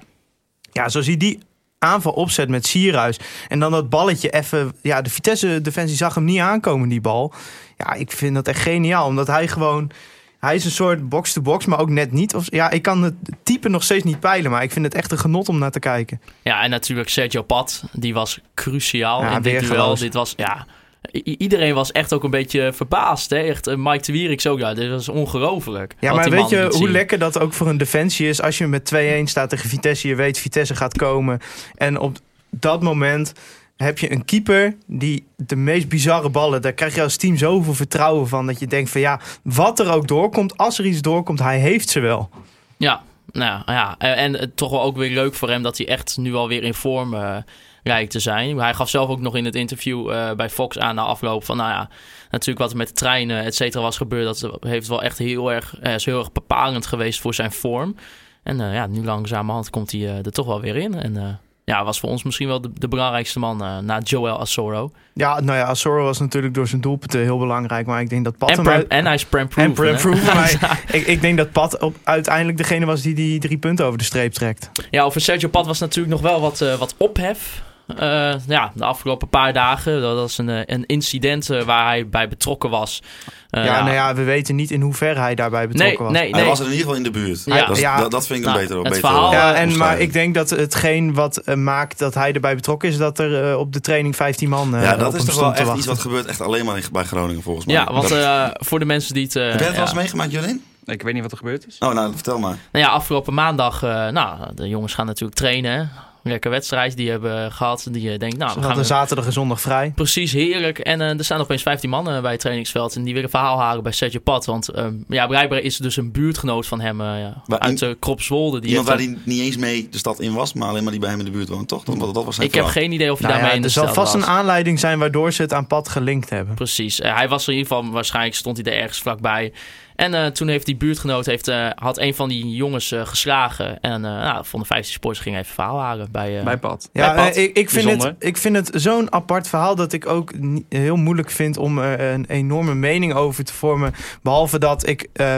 [SPEAKER 5] ja, zoals hij die aanval opzet met Sierhuis. En dan dat balletje even... Ja, de Vitesse-defensie zag hem niet aankomen, die bal. Ja, ik vind dat echt geniaal. Omdat hij gewoon... Hij is een soort box-to-box, maar ook net niet. Of, ja, ik kan het type nog steeds niet peilen. Maar ik vind het echt een genot om naar te kijken.
[SPEAKER 4] Ja, en natuurlijk Sergio Pat, die was cruciaal
[SPEAKER 5] Ja,
[SPEAKER 4] in dit
[SPEAKER 5] weergeloos.
[SPEAKER 4] duel. Dit was, ja, i- iedereen was echt ook een beetje verbaasd. Hè? Echt, eh, Mike de Wierik zo, ja, dit was ongelooflijk.
[SPEAKER 5] Ja,
[SPEAKER 4] wat
[SPEAKER 5] maar
[SPEAKER 4] die
[SPEAKER 5] weet
[SPEAKER 4] man
[SPEAKER 5] je
[SPEAKER 4] liet
[SPEAKER 5] hoe
[SPEAKER 4] zien.
[SPEAKER 5] lekker dat ook voor een defensie is? Als je met 2-1 staat tegen Vitesse, je weet Vitesse gaat komen. En op dat moment heb je een keeper die de meest bizarre ballen... daar krijg je als team zoveel vertrouwen van... dat je denkt van ja, wat er ook doorkomt... als er iets doorkomt, hij heeft ze wel.
[SPEAKER 4] Ja, nou ja. En, en het toch wel ook weer leuk voor hem dat hij echt nu alweer in vorm eh, lijkt te zijn. Hij gaf zelf ook nog in het interview eh, bij Fox aan na afloop van, nou ja, natuurlijk wat er met de treinen, et cetera, was gebeurd. Dat heeft wel echt heel erg, eh, is heel erg bepalend geweest voor zijn vorm. En eh, ja, nu langzamerhand komt hij eh, er toch wel weer in. En eh, ja, was voor ons misschien wel de, de belangrijkste man eh, na Joel Asoro.
[SPEAKER 5] Ja, nou ja, Azor was natuurlijk door zijn doelpunten heel belangrijk... maar ik denk dat Pat
[SPEAKER 4] En,
[SPEAKER 5] hem
[SPEAKER 4] Prem-
[SPEAKER 5] uit-
[SPEAKER 4] en hij is Prem
[SPEAKER 5] en
[SPEAKER 4] Proven, hè?
[SPEAKER 5] Prem Proeven, maar ik, ik denk dat Pat op, uiteindelijk degene was... die die drie punten over de streep trekt.
[SPEAKER 4] Ja, over Sergio Pat was natuurlijk nog wel wat, eh, wat ophef. Eh, ja, de afgelopen paar dagen. Dat was een, eh, een incident eh, waar hij bij betrokken was. Eh,
[SPEAKER 5] ja, nou ja, we weten niet in hoeverre hij daarbij
[SPEAKER 4] nee,
[SPEAKER 5] betrokken was.
[SPEAKER 4] nee,
[SPEAKER 6] Hij
[SPEAKER 4] nee.
[SPEAKER 6] was er in ieder geval in de buurt.
[SPEAKER 4] Ja.
[SPEAKER 6] Dat, is-
[SPEAKER 5] Ja.
[SPEAKER 6] dat, dat vind ik een
[SPEAKER 4] Nou,
[SPEAKER 6] beter,
[SPEAKER 4] het
[SPEAKER 6] beter
[SPEAKER 4] verhaal,
[SPEAKER 6] eh,
[SPEAKER 4] eh,
[SPEAKER 5] Ja, en, maar
[SPEAKER 6] omschrijving.
[SPEAKER 5] ik denk dat hetgeen wat eh, maakt dat hij erbij betrokken is, dat er eh, op de training 15 man eh,
[SPEAKER 6] ja,
[SPEAKER 5] op
[SPEAKER 6] dat is
[SPEAKER 5] hem
[SPEAKER 6] toch wel
[SPEAKER 5] stond te
[SPEAKER 6] echt iets
[SPEAKER 5] wachten.
[SPEAKER 6] wat gebeurt echt alleen maar in- bij Groningen volgens mij.
[SPEAKER 4] Ja, want
[SPEAKER 6] Dat-
[SPEAKER 4] eh, voor de mensen die het... eh,
[SPEAKER 6] Heb jij het
[SPEAKER 4] ja.
[SPEAKER 6] wel eens meegemaakt, Jolien?
[SPEAKER 2] Ik weet niet wat er gebeurd is.
[SPEAKER 6] Oh, nou, vertel maar.
[SPEAKER 4] Nou ja, afgelopen maandag... eh, nou, de jongens gaan natuurlijk trainen. hè. Lekker wedstrijd die hebben gehad. Die je denkt, nou,
[SPEAKER 5] Ze
[SPEAKER 4] we gaan
[SPEAKER 5] hadden zaterdag en zondag vrij.
[SPEAKER 4] Precies, heerlijk. En eh, er staan opeens 15 mannen bij het trainingsveld. En die willen verhaal halen bij Sergio Pat. Want eh, ja, blijkbaar is er dus een buurtgenoot van hem eh, ja,
[SPEAKER 6] Waar-
[SPEAKER 4] uit de Kropswolde. Die
[SPEAKER 6] Iemand
[SPEAKER 4] heeft eh,
[SPEAKER 6] waar hij niet eens mee de stad in was, maar alleen maar die bij hem in de buurt woont, toch? Dat, dat was zijn
[SPEAKER 4] Ik heb
[SPEAKER 6] verhaal.
[SPEAKER 4] geen idee of hij
[SPEAKER 5] Nou ja,
[SPEAKER 4] daarmee in de
[SPEAKER 5] er zal
[SPEAKER 4] stad
[SPEAKER 5] vast
[SPEAKER 4] was.
[SPEAKER 5] een aanleiding zijn waardoor ze het aan pad gelinkt hebben.
[SPEAKER 4] Precies. Eh, hij was er in ieder geval, waarschijnlijk stond hij er ergens vlakbij. En eh, toen heeft die buurtgenoot, heeft, eh, had een van die jongens eh, geslagen. En eh nou, van de 15 sporters ging even verhaal halen bij... eh
[SPEAKER 2] Bij pad.
[SPEAKER 5] Ja,
[SPEAKER 4] Bij Pat,
[SPEAKER 5] eh, ik, ik, vind het,
[SPEAKER 2] bijzonder.
[SPEAKER 5] ik vind het zo'n apart verhaal dat ik ook ni- heel moeilijk vind om er een enorme mening over te vormen. Behalve dat ik eh,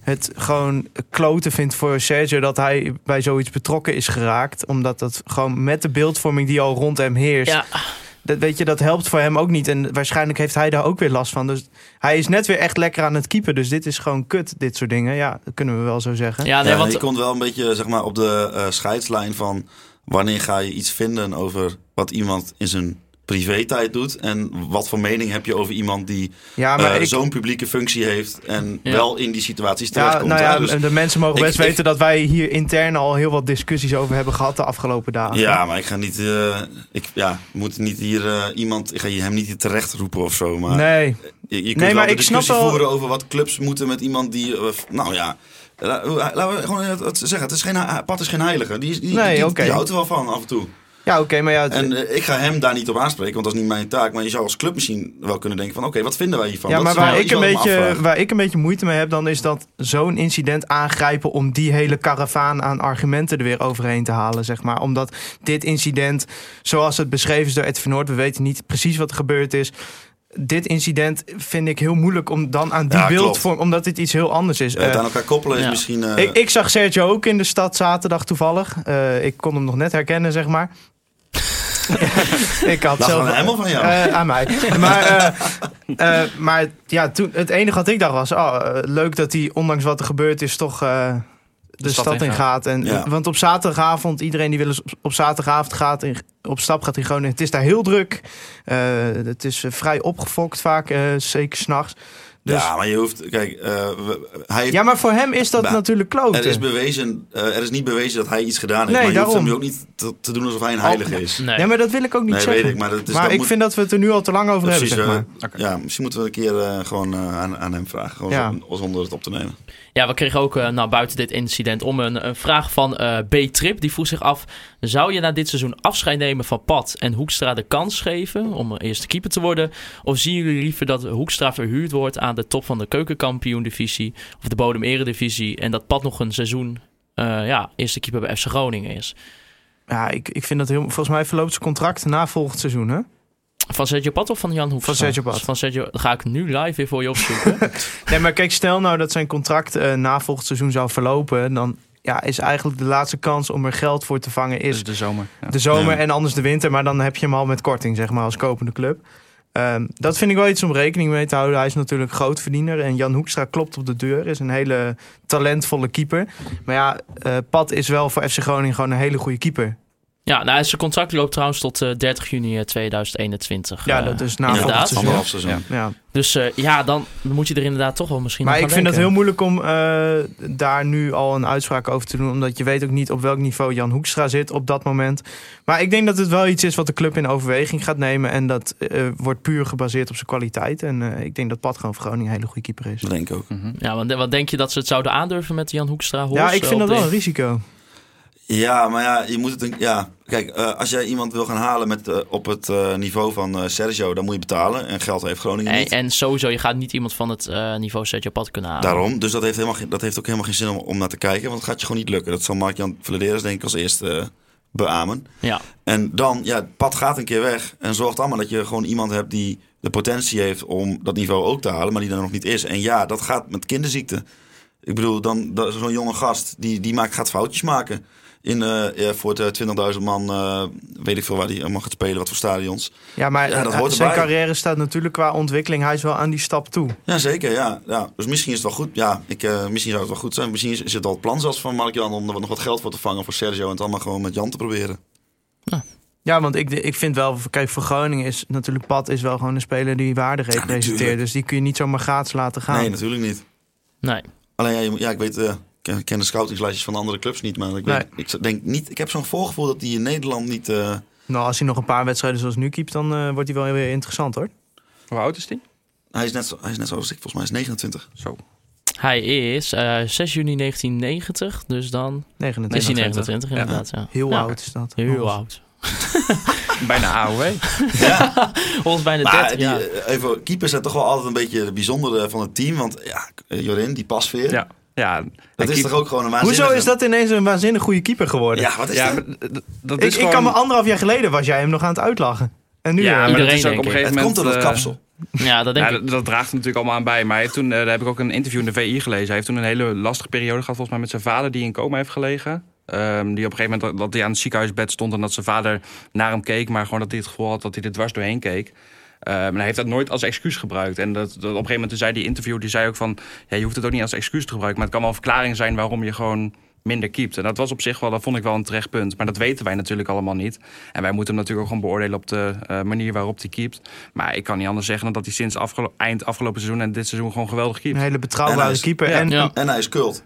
[SPEAKER 5] het gewoon kloten vind voor Sergio dat hij bij zoiets betrokken is geraakt. Omdat dat gewoon met de beeldvorming die al rond hem heerst,
[SPEAKER 4] ja,
[SPEAKER 5] Dat, weet je, dat helpt voor hem ook niet. En waarschijnlijk heeft hij daar ook weer last van. Dus hij is net weer echt lekker aan het keepen. Dus dit is gewoon kut, dit soort dingen. Ja, dat kunnen we wel zo zeggen.
[SPEAKER 4] ja, nee,
[SPEAKER 6] Ja,
[SPEAKER 4] want
[SPEAKER 6] Je komt wel een beetje zeg maar, op de eh, scheidslijn van wanneer ga je iets vinden over wat iemand in zijn privé-tijd doet en wat voor mening heb je over iemand die
[SPEAKER 5] Ja,
[SPEAKER 6] eh,
[SPEAKER 5] maar ik...
[SPEAKER 6] zo'n publieke functie heeft en
[SPEAKER 4] Ja.
[SPEAKER 6] wel in die situaties
[SPEAKER 5] Ja,
[SPEAKER 6] terechtkomt.
[SPEAKER 5] nou
[SPEAKER 6] hè?
[SPEAKER 5] ja,
[SPEAKER 6] Dus-
[SPEAKER 5] de mensen mogen
[SPEAKER 6] ik-
[SPEAKER 5] best
[SPEAKER 6] ik-
[SPEAKER 5] weten dat wij hier intern al heel wat discussies over hebben gehad de afgelopen dagen.
[SPEAKER 6] ja, maar ik ga niet, eh, ik ja, moet niet hier eh, iemand, ik ga hem niet hier terecht roepen of zo, maar
[SPEAKER 5] nee.
[SPEAKER 6] je, je kunt
[SPEAKER 5] Nee,
[SPEAKER 6] wel
[SPEAKER 5] maar
[SPEAKER 6] de
[SPEAKER 5] ik snap
[SPEAKER 6] discussie
[SPEAKER 5] wel-
[SPEAKER 6] voeren over wat clubs moeten met iemand die, eh, f- nou ja. la- la- Laten we gewoon het- het zeggen, het is geen, he- Pat is geen heilige. Die, is- die,
[SPEAKER 5] Nee,
[SPEAKER 6] die,
[SPEAKER 5] oké.
[SPEAKER 6] die houdt er wel van af en toe.
[SPEAKER 5] Ja, oké, maar ja... het-
[SPEAKER 6] En eh, ik ga hem daar niet op aanspreken, want dat is niet mijn taak. Maar je zou als club misschien wel kunnen denken van... oké, wat nou vinden wij hiervan?
[SPEAKER 5] ja,
[SPEAKER 6] Dat
[SPEAKER 5] maar
[SPEAKER 6] is wel
[SPEAKER 5] waar
[SPEAKER 6] iets
[SPEAKER 5] ik, een
[SPEAKER 6] wat me
[SPEAKER 5] beetje, eh,
[SPEAKER 6] afvraag.
[SPEAKER 5] waar ik een beetje moeite mee heb, dan is dat zo'n incident aangrijpen om die hele karavaan aan argumenten er weer overheen te halen, zeg maar. Omdat dit incident, zoals het beschreven is door Ed van Noord, we weten niet precies wat er gebeurd is. Dit incident vind ik heel moeilijk om dan aan die
[SPEAKER 6] Ja, klopt.
[SPEAKER 5] beeldvorm, omdat dit iets heel anders is.
[SPEAKER 6] Eh, het
[SPEAKER 5] Eh,
[SPEAKER 6] aan elkaar koppelen is
[SPEAKER 4] ja.
[SPEAKER 6] misschien... eh,
[SPEAKER 5] ik, ik zag Sergio ook in de stad zaterdag toevallig. Eh, ik kon hem nog net herkennen, zeg maar. ik had
[SPEAKER 6] Lag
[SPEAKER 5] zelf
[SPEAKER 6] aan hem of aan jou?
[SPEAKER 5] Eh, aan mij. maar eh, eh, maar ja, toen, het enige wat ik dacht was... Oh, eh, leuk dat hij, ondanks wat er gebeurd is, toch eh, de,
[SPEAKER 2] stad
[SPEAKER 5] stad, in
[SPEAKER 2] ingaat.
[SPEAKER 5] gaat. En,
[SPEAKER 6] Ja.
[SPEAKER 5] Want op zaterdagavond, iedereen die wel eens op, op zaterdagavond gaat... In, op stap gaat in Groningen. Het is daar heel druk. Eh, het is eh, vrij opgefokt vaak, eh, zeker s'nachts. Dus,
[SPEAKER 6] Ja,
[SPEAKER 5] ja.
[SPEAKER 6] maar je hoeft... Kijk, eh, we- hij,
[SPEAKER 5] maar voor hem is dat
[SPEAKER 6] Maar
[SPEAKER 5] natuurlijk kloten.
[SPEAKER 6] er, is bewezen, eh, er is niet bewezen dat hij iets gedaan heeft.
[SPEAKER 5] Nee,
[SPEAKER 6] maar je hoeft
[SPEAKER 5] daarom.
[SPEAKER 6] hem nu ook niet te, te doen alsof hij een heilige is.
[SPEAKER 4] nee.
[SPEAKER 5] Ja, maar dat wil ik ook niet
[SPEAKER 6] Nee,
[SPEAKER 5] zeggen.
[SPEAKER 6] weet ik, maar dat is-
[SPEAKER 5] maar
[SPEAKER 6] Dus dat
[SPEAKER 5] ik
[SPEAKER 6] moet-
[SPEAKER 5] vind dat we het er nu al te lang over
[SPEAKER 6] Precies,
[SPEAKER 5] hebben, zeg maar.
[SPEAKER 6] eh, ja, misschien moeten we een keer eh, gewoon eh, aan, aan hem vragen. Gewoon
[SPEAKER 5] Ja.
[SPEAKER 6] zon- zonder het op te nemen.
[SPEAKER 4] Ja, we kregen ook, eh, nou, buiten dit incident om een, een vraag van eh, B. Trip. Die vroeg zich af, zou je na dit seizoen afscheid nemen van Pat en Hoekstra de kans geven om eerste keeper te worden? Of zien jullie liever dat Hoekstra verhuurd wordt aan de top van de keukenkampioen-divisie of de bodem eredivisie en dat Pat nog een seizoen eh, ja, eerste keeper bij FC Groningen is?
[SPEAKER 5] Ja, ik, ik vind dat heel... Volgens mij verloopt zijn contract na volgend seizoen, hè?
[SPEAKER 4] Van Sergio Pat of van Jan Hoekstra?
[SPEAKER 5] Van Sergio Pat.
[SPEAKER 4] Van Sergio, dat ga ik nu live weer voor je opzoeken.
[SPEAKER 5] Nee, maar kijk, stel nou dat zijn contract eh, na volgend seizoen zou verlopen... dan ja, is eigenlijk de laatste kans om er geld voor te vangen
[SPEAKER 2] Dus
[SPEAKER 5] is
[SPEAKER 2] de zomer. Ja.
[SPEAKER 5] de zomer
[SPEAKER 6] Ja.
[SPEAKER 5] en anders de winter. Maar dan heb je hem al met korting, zeg maar, als kopende club. Ehm, dat vind ik wel iets om rekening mee te houden. Hij is natuurlijk grootverdiener. En Jan Hoekstra klopt op de deur. Is een hele talentvolle keeper. Maar ja, eh, Pat is wel voor FC Groningen gewoon een hele goede keeper.
[SPEAKER 4] Ja, nou, zijn contract loopt trouwens tot eh, 30 juni eh, 2021.
[SPEAKER 5] Ja,
[SPEAKER 4] eh.
[SPEAKER 5] dat is na
[SPEAKER 4] inderdaad.
[SPEAKER 5] volgend seizoen.
[SPEAKER 6] Anderhalf seizoen.
[SPEAKER 2] Ja.
[SPEAKER 5] Ja.
[SPEAKER 4] Dus eh, ja, dan moet je er inderdaad toch wel misschien
[SPEAKER 5] Maar
[SPEAKER 4] aan
[SPEAKER 5] ik vind het
[SPEAKER 4] denken.
[SPEAKER 5] heel moeilijk om eh, daar nu al een uitspraak over te doen. Omdat je weet ook niet op welk niveau Jan Hoekstra zit op dat moment. Maar ik denk dat het wel iets is wat de club in overweging gaat nemen. En dat eh, wordt puur gebaseerd op zijn kwaliteit. En eh, ik denk dat Pat gewoon voor Groningen een hele goede keeper is.
[SPEAKER 6] Dat denk ik ook.
[SPEAKER 4] Ja, Hm. want wat denk je dat ze het zouden aandurven met Jan Hoekstra? Hols,
[SPEAKER 5] Ja, ik
[SPEAKER 4] eh, op
[SPEAKER 5] vind dat wel
[SPEAKER 4] de-
[SPEAKER 5] een risico.
[SPEAKER 6] Ja, maar ja, je moet het... een- Ja, kijk, eh, als jij iemand wil gaan halen met, eh, op het eh, niveau van eh, Sergio, dan moet je betalen. En geld heeft Groningen
[SPEAKER 4] En,
[SPEAKER 6] niet.
[SPEAKER 4] en sowieso, je gaat niet iemand van het eh, niveau Sergio Pat kunnen halen.
[SPEAKER 6] Daarom, dus dat heeft, helemaal geen, dat heeft ook helemaal geen zin om, om naar te kijken, want het gaat je gewoon niet lukken. Dat zal Mark-Jan Vladeres denk ik als eerste eh, beamen.
[SPEAKER 4] Ja.
[SPEAKER 6] En dan, ja, het pad gaat een keer weg en zorgt allemaal dat je gewoon iemand hebt die de potentie heeft om dat niveau ook te halen, maar die er nog niet is. En ja, dat gaat met kinderziekte. Ik bedoel, dan, dat- zo'n jonge gast, die, die maakt, gaat foutjes maken. In, eh, ja, voor het, eh, 20.000 man, eh, weet ik veel waar die allemaal gaat spelen, wat voor stadions.
[SPEAKER 5] Ja, maar
[SPEAKER 6] Ja, dat
[SPEAKER 5] eh,
[SPEAKER 6] hoort
[SPEAKER 5] zijn
[SPEAKER 6] erbij.
[SPEAKER 5] carrière staat natuurlijk qua ontwikkeling. Hij is wel aan die stap toe.
[SPEAKER 6] Ja, zeker, ja. ja. Dus misschien is het wel goed. Ja, ik, eh, misschien zou het wel goed zijn. Misschien is, is het al het plan zelfs van Mark-Jan om er nog wat geld voor te vangen voor Sergio en het allemaal gewoon met Jan te proberen.
[SPEAKER 5] Ja, want ik, ik vind wel, kijk, voor Groningen is natuurlijk Pat is wel gewoon een speler die waarde representeert.
[SPEAKER 6] natuurlijk.
[SPEAKER 5] dus die kun je niet zomaar gratis laten gaan.
[SPEAKER 6] Nee, natuurlijk niet.
[SPEAKER 4] Nee.
[SPEAKER 6] Alleen, ja, je moet- ja ik weet, eh, ik ken- ken de scoutingslijstjes van de andere clubs niet, maar ik, weet, ik denk niet, ik heb zo'n voorgevoel dat die in Nederland niet... eh,
[SPEAKER 5] Nou, als hij nog een paar wedstrijden zoals nu keept, dan eh, wordt hij wel weer interessant hoor.
[SPEAKER 2] Hoe oud is die?
[SPEAKER 6] hij, is net zo, hij is net zoals ik, volgens mij is 29.
[SPEAKER 2] Zo.
[SPEAKER 4] Hij is eh 6 juni 1990, dus dan is
[SPEAKER 5] 29.
[SPEAKER 4] hij 29 inderdaad. Ja.
[SPEAKER 5] Heel
[SPEAKER 4] Ja.
[SPEAKER 5] oud is dat.
[SPEAKER 4] Heel
[SPEAKER 5] Ons.
[SPEAKER 4] oud.
[SPEAKER 2] Bijna AOW.
[SPEAKER 4] Ons bijna
[SPEAKER 6] Maar
[SPEAKER 4] 30
[SPEAKER 6] die,
[SPEAKER 4] jaar.
[SPEAKER 6] eh, even, keepers zijn toch wel altijd een beetje de bijzondere van het team, want ja, eh, Jorin, die pasveer,
[SPEAKER 2] Ja. ja.
[SPEAKER 6] dat is toch ook gewoon een waanzinnige...
[SPEAKER 5] Hoezo is dat ineens een waanzinnig goede keeper geworden?
[SPEAKER 6] Ja, wat is
[SPEAKER 2] Ja,
[SPEAKER 6] dat?
[SPEAKER 2] maar d- d- dat
[SPEAKER 5] ik,
[SPEAKER 2] is
[SPEAKER 5] ik
[SPEAKER 2] gewoon...
[SPEAKER 5] kan me anderhalf jaar geleden was jij hem nog aan het uitlachen. En nu eh,
[SPEAKER 2] ja, maar
[SPEAKER 5] weer.
[SPEAKER 2] dat
[SPEAKER 4] Iedereen,
[SPEAKER 2] is ook op een
[SPEAKER 4] denk ik.
[SPEAKER 2] gegeven
[SPEAKER 6] Het
[SPEAKER 2] moment...
[SPEAKER 6] komt door dat
[SPEAKER 2] eh,
[SPEAKER 6] kapsel.
[SPEAKER 4] Ja, dat denk
[SPEAKER 2] ja,
[SPEAKER 4] ik.
[SPEAKER 2] dat, dat draagt er natuurlijk allemaal aan bij. Maar hij heeft toen, eh, daar heb ik ook een interview in de VI gelezen. Hij heeft toen een hele lastige periode gehad, volgens mij, met zijn vader die in coma heeft gelegen. Ehm, die op een gegeven moment dat, dat hij aan het ziekenhuisbed stond en dat zijn vader naar hem keek, maar gewoon dat hij het gevoel had dat hij er dwars doorheen keek. Ehm, en hij heeft dat nooit als excuus gebruikt. En dat, dat op een gegeven moment toen zei die interview, die zei ook van, ja, je hoeft het ook niet als excuus te gebruiken, maar het kan wel een verklaring zijn waarom je gewoon minder keept. En dat was op zich wel, dat vond ik wel een terecht punt. Maar dat weten wij natuurlijk allemaal niet. En wij moeten hem natuurlijk ook gewoon beoordelen op de eh, manier waarop hij keept. Maar ik kan niet anders zeggen dan dat hij sinds afgelo- eind afgelopen seizoen en dit seizoen gewoon geweldig keept.
[SPEAKER 5] Een hele
[SPEAKER 6] En hij
[SPEAKER 5] betrouwbare
[SPEAKER 6] is-
[SPEAKER 5] keeper.
[SPEAKER 2] Ja.
[SPEAKER 5] en,
[SPEAKER 4] Ja.
[SPEAKER 6] En hij is kult.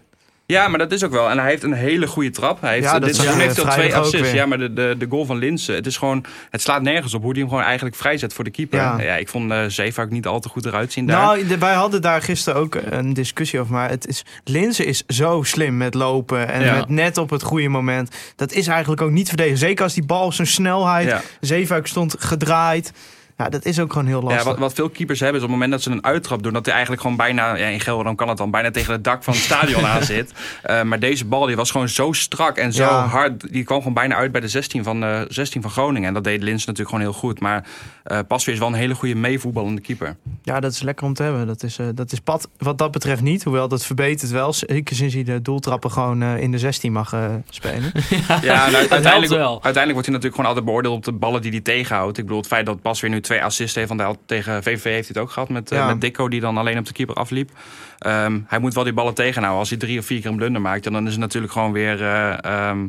[SPEAKER 2] Ja, maar dat is ook wel. En hij heeft een hele goede trap. Hij heeft, eh,
[SPEAKER 5] Ja, dat
[SPEAKER 2] dit
[SPEAKER 5] zag
[SPEAKER 2] seizoen
[SPEAKER 5] je
[SPEAKER 2] heeft hij al twee
[SPEAKER 5] vrijdag ook
[SPEAKER 2] assists.
[SPEAKER 5] weer.
[SPEAKER 2] Ja, maar de, de, de goal van Linsen. Het, is gewoon, het slaat nergens op hoe hij hem gewoon eigenlijk vrijzet voor de keeper.
[SPEAKER 5] Ja.
[SPEAKER 2] Ja. ik vond eh Zeefa ook niet al te goed eruit zien daar.
[SPEAKER 5] Nou, de- wij hadden daar gisteren ook een discussie over. Maar het is, Linzen is zo slim met lopen en
[SPEAKER 2] Ja.
[SPEAKER 5] met net op het goede moment. Dat is eigenlijk ook niet verdedigen. Zeker als die bal op zo'n snelheid.
[SPEAKER 2] Ja.
[SPEAKER 5] Zeefuik stond gedraaid. Ja, dat is ook gewoon heel lastig.
[SPEAKER 2] ja, wat, wat veel keepers hebben is op het moment dat ze een uittrap doen... dat hij eigenlijk gewoon bijna, ja, in Gelderland kan het dan... bijna tegen het dak van het stadion aan zit. Eh, maar deze bal die was gewoon zo strak en zo
[SPEAKER 5] Ja.
[SPEAKER 2] hard. Die kwam gewoon bijna uit bij de 16 van, eh 16 van Groningen. En dat deed Linsen natuurlijk gewoon heel goed. Maar eh Pasveer is wel een hele goede meevoetballende keeper.
[SPEAKER 5] Ja, dat is lekker om te hebben. Dat is, eh, dat is pad wat dat betreft niet. Hoewel dat verbetert wel. Zeker sinds hij de doeltrappen gewoon eh, in de 16 mag eh, spelen.
[SPEAKER 2] Ja, en u-
[SPEAKER 4] helpt
[SPEAKER 2] uiteindelijk,
[SPEAKER 4] wel.
[SPEAKER 2] uiteindelijk wordt hij natuurlijk gewoon altijd beoordeeld op de ballen die hij tegenhoudt. Ik bedoel, het feit dat Bas weer nu twee assists heeft, want hij had, tegen VVV heeft hij het ook gehad met, eh,
[SPEAKER 5] Ja.
[SPEAKER 2] met Dikko, die dan alleen op de keeper afliep. Ehm, hij moet wel die ballen tegenhouden. Als hij drie of vier keer een blunder maakt, dan is het natuurlijk gewoon weer... eh, ehm,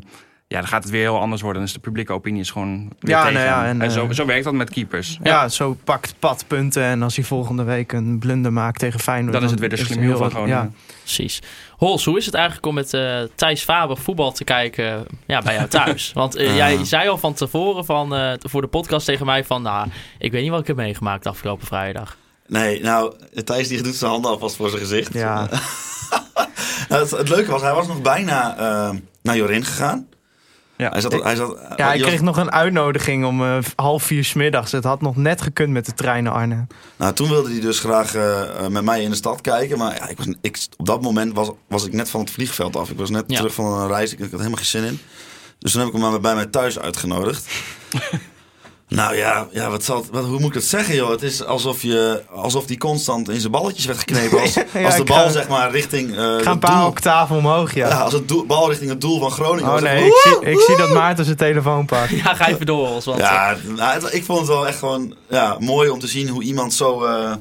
[SPEAKER 2] ja, dan gaat het weer heel anders worden. Dan is de publieke opinie is gewoon weer
[SPEAKER 5] Ja,
[SPEAKER 2] tegen
[SPEAKER 5] nou ja,
[SPEAKER 2] hem.
[SPEAKER 5] en,
[SPEAKER 2] En, zo,
[SPEAKER 5] eh,
[SPEAKER 2] zo werkt dat met keepers.
[SPEAKER 5] Ja, zo pakt pad punten. En als hij volgende week een blunder maakt tegen Feyenoord...
[SPEAKER 2] Dan is het weer de
[SPEAKER 5] heel
[SPEAKER 2] slimmiel van
[SPEAKER 5] wat-
[SPEAKER 2] Groningen.
[SPEAKER 4] Precies. Hols, hoe is het eigenlijk om met eh, Thijs Faber voetbal te kijken ja, bij jou thuis? Want eh,
[SPEAKER 6] Ah.
[SPEAKER 4] jij zei al van tevoren van, eh, voor de podcast tegen mij van... Nou, ik weet niet wat ik heb meegemaakt afgelopen vrijdag.
[SPEAKER 6] Nee, nou, Thijs die doet zijn handen alvast voor zijn gezicht.
[SPEAKER 5] Ja, ja.
[SPEAKER 6] Nou, het, het leuke was, hij was nog bijna eh, naar Jorin gegaan.
[SPEAKER 2] Ja.
[SPEAKER 6] Hij zat, hij zat,
[SPEAKER 5] ja, hij
[SPEAKER 6] je was-
[SPEAKER 5] kreeg nog een uitnodiging om eh, half vier 's middags. Het had nog net gekund met de trein naar Arnhem.
[SPEAKER 6] Nou, toen wilde hij dus graag eh, eh, met mij in de stad kijken. Maar ja, ik was, ik, op dat moment was, was ik net van het vliegveld af. Ik was net
[SPEAKER 4] Ja.
[SPEAKER 6] terug van een reis. Ik, had helemaal geen zin in. Dus toen heb ik hem maar bij mij thuis uitgenodigd. nou ja, ja wat zal het- wat, hoe moet ik dat zeggen, joh? Het is alsof je alsof die constant in zijn balletjes werd geknepen. Als,
[SPEAKER 5] Ja,
[SPEAKER 6] als de
[SPEAKER 5] ik
[SPEAKER 6] bal,
[SPEAKER 5] ga-
[SPEAKER 6] zeg maar, richting. eh,
[SPEAKER 5] Ik
[SPEAKER 6] het
[SPEAKER 5] ga een paar
[SPEAKER 6] doel-
[SPEAKER 5] octaven omhoog, ja.
[SPEAKER 6] Ja, als het doel- bal richting het doel van Groningen.
[SPEAKER 5] Oh
[SPEAKER 6] was,
[SPEAKER 5] nee,
[SPEAKER 6] ik-
[SPEAKER 5] ik zie, ik zie dat Maarten zijn telefoon pakt.
[SPEAKER 4] Ja, ga even door, Hols. Want,
[SPEAKER 6] Ja, nou, het- ik vond het wel echt gewoon ja, mooi om te zien hoe iemand zo eh,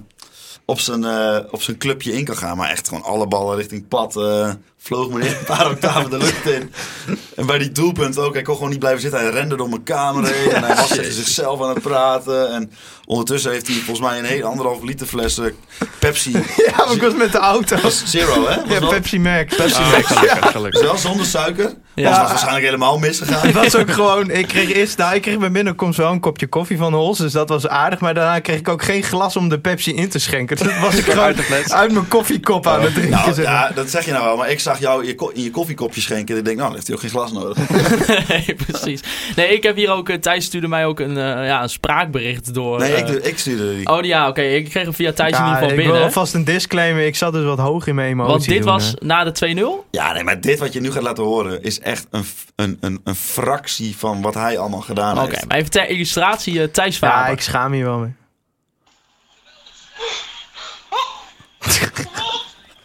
[SPEAKER 6] op zijn, eh, op zijn clubje in kan gaan. Maar echt gewoon alle ballen richting pad. eh, vloog me een paar octaven de lucht in. En bij die doelpunt ook. Hij kon gewoon niet blijven zitten. Hij rende door mijn kamer heen. En hij was tegen zichzelf aan het praten. En ondertussen heeft hij volgens mij een hele anderhalf liter fles eh, Pepsi.
[SPEAKER 5] Ja, maar ik was met de auto.
[SPEAKER 6] Zero, hè? Was
[SPEAKER 5] Ja,
[SPEAKER 6] wel-
[SPEAKER 5] Pepsi Max.
[SPEAKER 6] Pepsi
[SPEAKER 2] Ah,
[SPEAKER 6] Max.
[SPEAKER 2] gelukkig,
[SPEAKER 6] Dus
[SPEAKER 2] gelukkig.
[SPEAKER 6] wel zonder suiker.
[SPEAKER 4] eh, Ja.
[SPEAKER 6] Was waarschijnlijk helemaal misgegaan.
[SPEAKER 5] Het was ook gewoon, ik kreeg eerst, nou, ik kreeg bij binnenkomst wel een kopje koffie van Hols, dus dat was aardig. Maar daarna kreeg ik ook geen glas om de Pepsi in te schenken. Dus dat was ik gewoon
[SPEAKER 2] Uit de fles.
[SPEAKER 5] uit mijn koffiekop aan het drinken. Dus,
[SPEAKER 6] Nou,
[SPEAKER 5] zeg
[SPEAKER 6] ja,
[SPEAKER 5] maar.
[SPEAKER 6] dat zeg je nou wel, maar ik zag jou je ko- in je koffiekopje schenken. En ik denk, nou, dan heeft hij ook geen glas nodig.
[SPEAKER 5] Oh,
[SPEAKER 4] nee, precies. Nee, ik heb hier ook... eh, Thijs stuurde mij ook een, eh, ja, een spraakbericht door.
[SPEAKER 6] Nee, ik,
[SPEAKER 4] eh,
[SPEAKER 6] ik stuurde die.
[SPEAKER 4] Oh ja, oké. Ik kreeg hem via Thijs in
[SPEAKER 5] Ja,
[SPEAKER 4] ieder geval
[SPEAKER 5] ik wil
[SPEAKER 4] binnen.
[SPEAKER 5] alvast een disclaimer, ik zat dus wat hoog in mijn emotie.
[SPEAKER 4] Want dit
[SPEAKER 5] toen,
[SPEAKER 4] was
[SPEAKER 5] hè.
[SPEAKER 4] na de 2-0.
[SPEAKER 6] Ja, nee, maar dit wat je nu gaat laten horen is echt een, f- een, een, een fractie van wat hij allemaal gedaan
[SPEAKER 4] Oké,
[SPEAKER 6] heeft.
[SPEAKER 4] maar even ter illustratie eh, Thijs
[SPEAKER 5] Ja,
[SPEAKER 4] Faber.
[SPEAKER 5] ik schaam hier wel mee.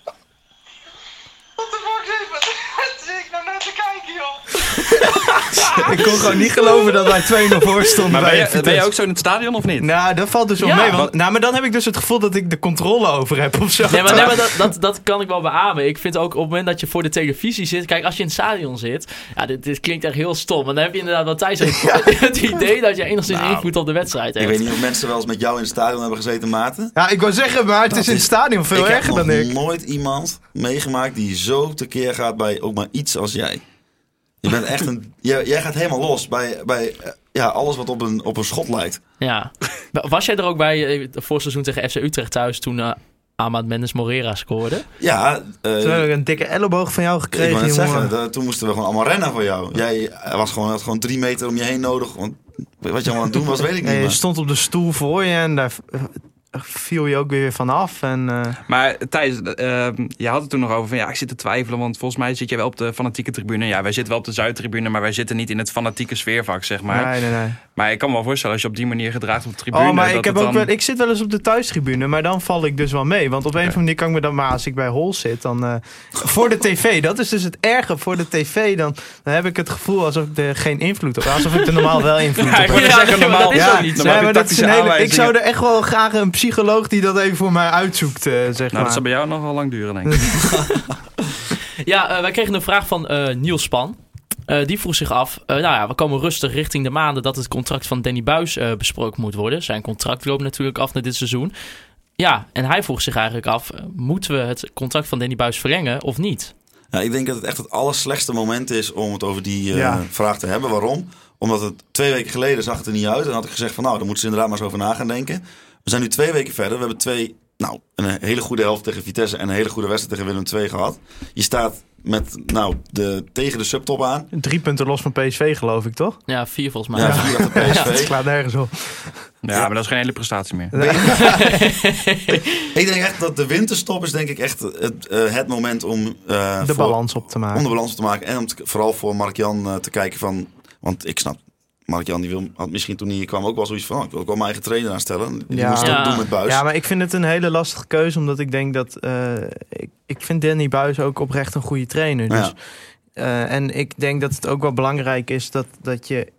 [SPEAKER 7] Wat de fuck is dit? Wat zit ik nou naar te kijken, joh?
[SPEAKER 5] Ik kon gewoon niet geloven dat wij 2-0 voor stonden
[SPEAKER 2] Maar
[SPEAKER 5] bij
[SPEAKER 2] ben je,
[SPEAKER 5] Vitesse.
[SPEAKER 2] ben je ook zo in het stadion of niet?
[SPEAKER 5] Nou, dat valt dus wel
[SPEAKER 4] Ja.
[SPEAKER 5] mee. Want,
[SPEAKER 2] Wat-
[SPEAKER 5] nou, maar dan heb ik dus het gevoel dat ik de controle over heb of zo.
[SPEAKER 4] Nee, maar, nee, maar dat, dat, dat kan ik wel beamen. Ik vind ook op het moment dat je voor de televisie zit... Kijk, als je in het stadion zit... Ja, dit, dit klinkt echt heel stom. Maar dan heb je inderdaad wat Thijs heeft. Het idee dat je enigszins
[SPEAKER 6] Nou,
[SPEAKER 4] invloed op de wedstrijd
[SPEAKER 6] Ik
[SPEAKER 4] hebt.
[SPEAKER 6] weet niet of mensen wel eens met jou in het stadion hebben gezeten, Maarten.
[SPEAKER 5] Ja, ik wou zeggen, maar het is in het stadion veel
[SPEAKER 6] ik heb
[SPEAKER 5] erger
[SPEAKER 6] nog
[SPEAKER 5] dan ik.
[SPEAKER 6] nooit iemand meegemaakt die zo tekeer gaat bij ook maar iets als jij. Je bent echt een, jij, jij gaat helemaal los bij, bij eh, ja, alles wat op een, op een schot lijkt.
[SPEAKER 4] Ja. Was jij er ook bij eh, het voorseizoen tegen FC Utrecht thuis... toen eh, Ahmad Mendes Morera scoorde?
[SPEAKER 6] Ja, eh,
[SPEAKER 5] Toen heb ik een dikke elleboog van jou
[SPEAKER 6] ik wou
[SPEAKER 5] gekregen,
[SPEAKER 6] net zeggen,
[SPEAKER 5] jongen.
[SPEAKER 6] dat- toen moesten we gewoon allemaal rennen voor jou. Jij eh, was gewoon, had gewoon drie meter om je heen nodig. Want wat je allemaal aan het doen was, weet ik niet.
[SPEAKER 5] Ja, je
[SPEAKER 6] maar-
[SPEAKER 5] stond op de stoel voor je en daar eh, viel je ook weer vanaf. En, eh,
[SPEAKER 2] Maar Thijs, eh, ehm, je had het toen nog over van ja, ik zit te twijfelen. Want volgens mij zit jij wel op de fanatieke tribune. Ja, wij zitten wel op de Zuidtribune, maar wij zitten niet in het fanatieke sfeervak, zeg maar.
[SPEAKER 5] nee, nee, nee.
[SPEAKER 2] Maar ik kan me wel voorstellen, als je op die manier gedraagt op de tribune.
[SPEAKER 5] Oh, maar
[SPEAKER 2] dat
[SPEAKER 5] ik, heb
[SPEAKER 2] het
[SPEAKER 5] ook
[SPEAKER 2] dan-
[SPEAKER 5] wel, ik zit wel eens op de thuistribune, maar dan val ik dus wel mee. Want op een of andere manier kan ik me dan, maar als ik bij Hol zit, dan eh, voor de tv. Dat is dus het erge voor de tv. Dan, dan heb ik het gevoel alsof ik er geen invloed op heb. Alsof ik er normaal wel invloed op
[SPEAKER 4] Ja, ik
[SPEAKER 5] heb.
[SPEAKER 4] wou net zeggen,
[SPEAKER 2] Ja,
[SPEAKER 4] normaal
[SPEAKER 2] dat is
[SPEAKER 4] ja,
[SPEAKER 2] ook niet zo.
[SPEAKER 5] Nee,
[SPEAKER 2] heb je
[SPEAKER 5] maar dat is een
[SPEAKER 2] tactische
[SPEAKER 5] hele, ik zou
[SPEAKER 2] aanwijzingen.
[SPEAKER 5] er echt wel graag een psycholoog die dat even voor mij uitzoekt, eh, zeg
[SPEAKER 2] Nou, dat
[SPEAKER 5] maar.
[SPEAKER 2] zou bij jou nog wel lang duren, denk ik.
[SPEAKER 4] Ja, eh, wij kregen een vraag van eh, Niels Span. Eh, die vroeg zich af, eh, nou ja, we komen rustig richting de maanden dat het contract van Danny Buis eh, besproken moet worden. Zijn contract loopt natuurlijk af na dit seizoen. Ja, en hij vroeg zich eigenlijk af, eh, moeten we het contract van Danny Buis verlengen of niet?
[SPEAKER 6] Ja, ik denk dat het echt het allerslechtste moment is om het over die eh,
[SPEAKER 5] Ja.
[SPEAKER 6] vraag te hebben. Waarom? Omdat het twee weken geleden zag het er niet uit. En had ik gezegd van nou, daar moeten ze inderdaad maar eens over na gaan denken. We zijn nu twee weken verder. We hebben twee, nou, een hele goede helft tegen Vitesse en een hele goede wedstrijd tegen Willem II gehad. Je staat met, nou, de, tegen de subtop aan.
[SPEAKER 5] Drie punten los van PSV, geloof ik, toch?
[SPEAKER 4] Ja, vier volgens mij.
[SPEAKER 6] Ja, vier achter
[SPEAKER 5] Het
[SPEAKER 6] PSV.
[SPEAKER 5] slaat nergens op.
[SPEAKER 2] Ja, maar dat is geen hele prestatie meer.
[SPEAKER 6] Ik denk echt dat de winterstop is denk ik echt het, eh, het moment om... eh,
[SPEAKER 5] De
[SPEAKER 6] voor-
[SPEAKER 5] balans op te
[SPEAKER 6] Om de
[SPEAKER 5] maken.
[SPEAKER 6] balans op te maken. En om te- vooral voor Mark-Jan eh, te kijken van... Want ik snap, Mark-Jan die wil, had misschien toen hij hier kwam ook wel zoiets van... oh, ik wil ook wel mijn eigen trainer aanstellen. Die
[SPEAKER 5] Ja.
[SPEAKER 6] moest het
[SPEAKER 4] Ja.
[SPEAKER 6] ook doen met Buis.
[SPEAKER 5] Ja, maar ik vind het een hele lastige keuze, omdat ik denk dat... eh, ik, ik vind Danny Buis ook oprecht een goede trainer. Dus,
[SPEAKER 6] Ja.
[SPEAKER 5] eh, en ik denk dat het ook wel belangrijk is dat, dat je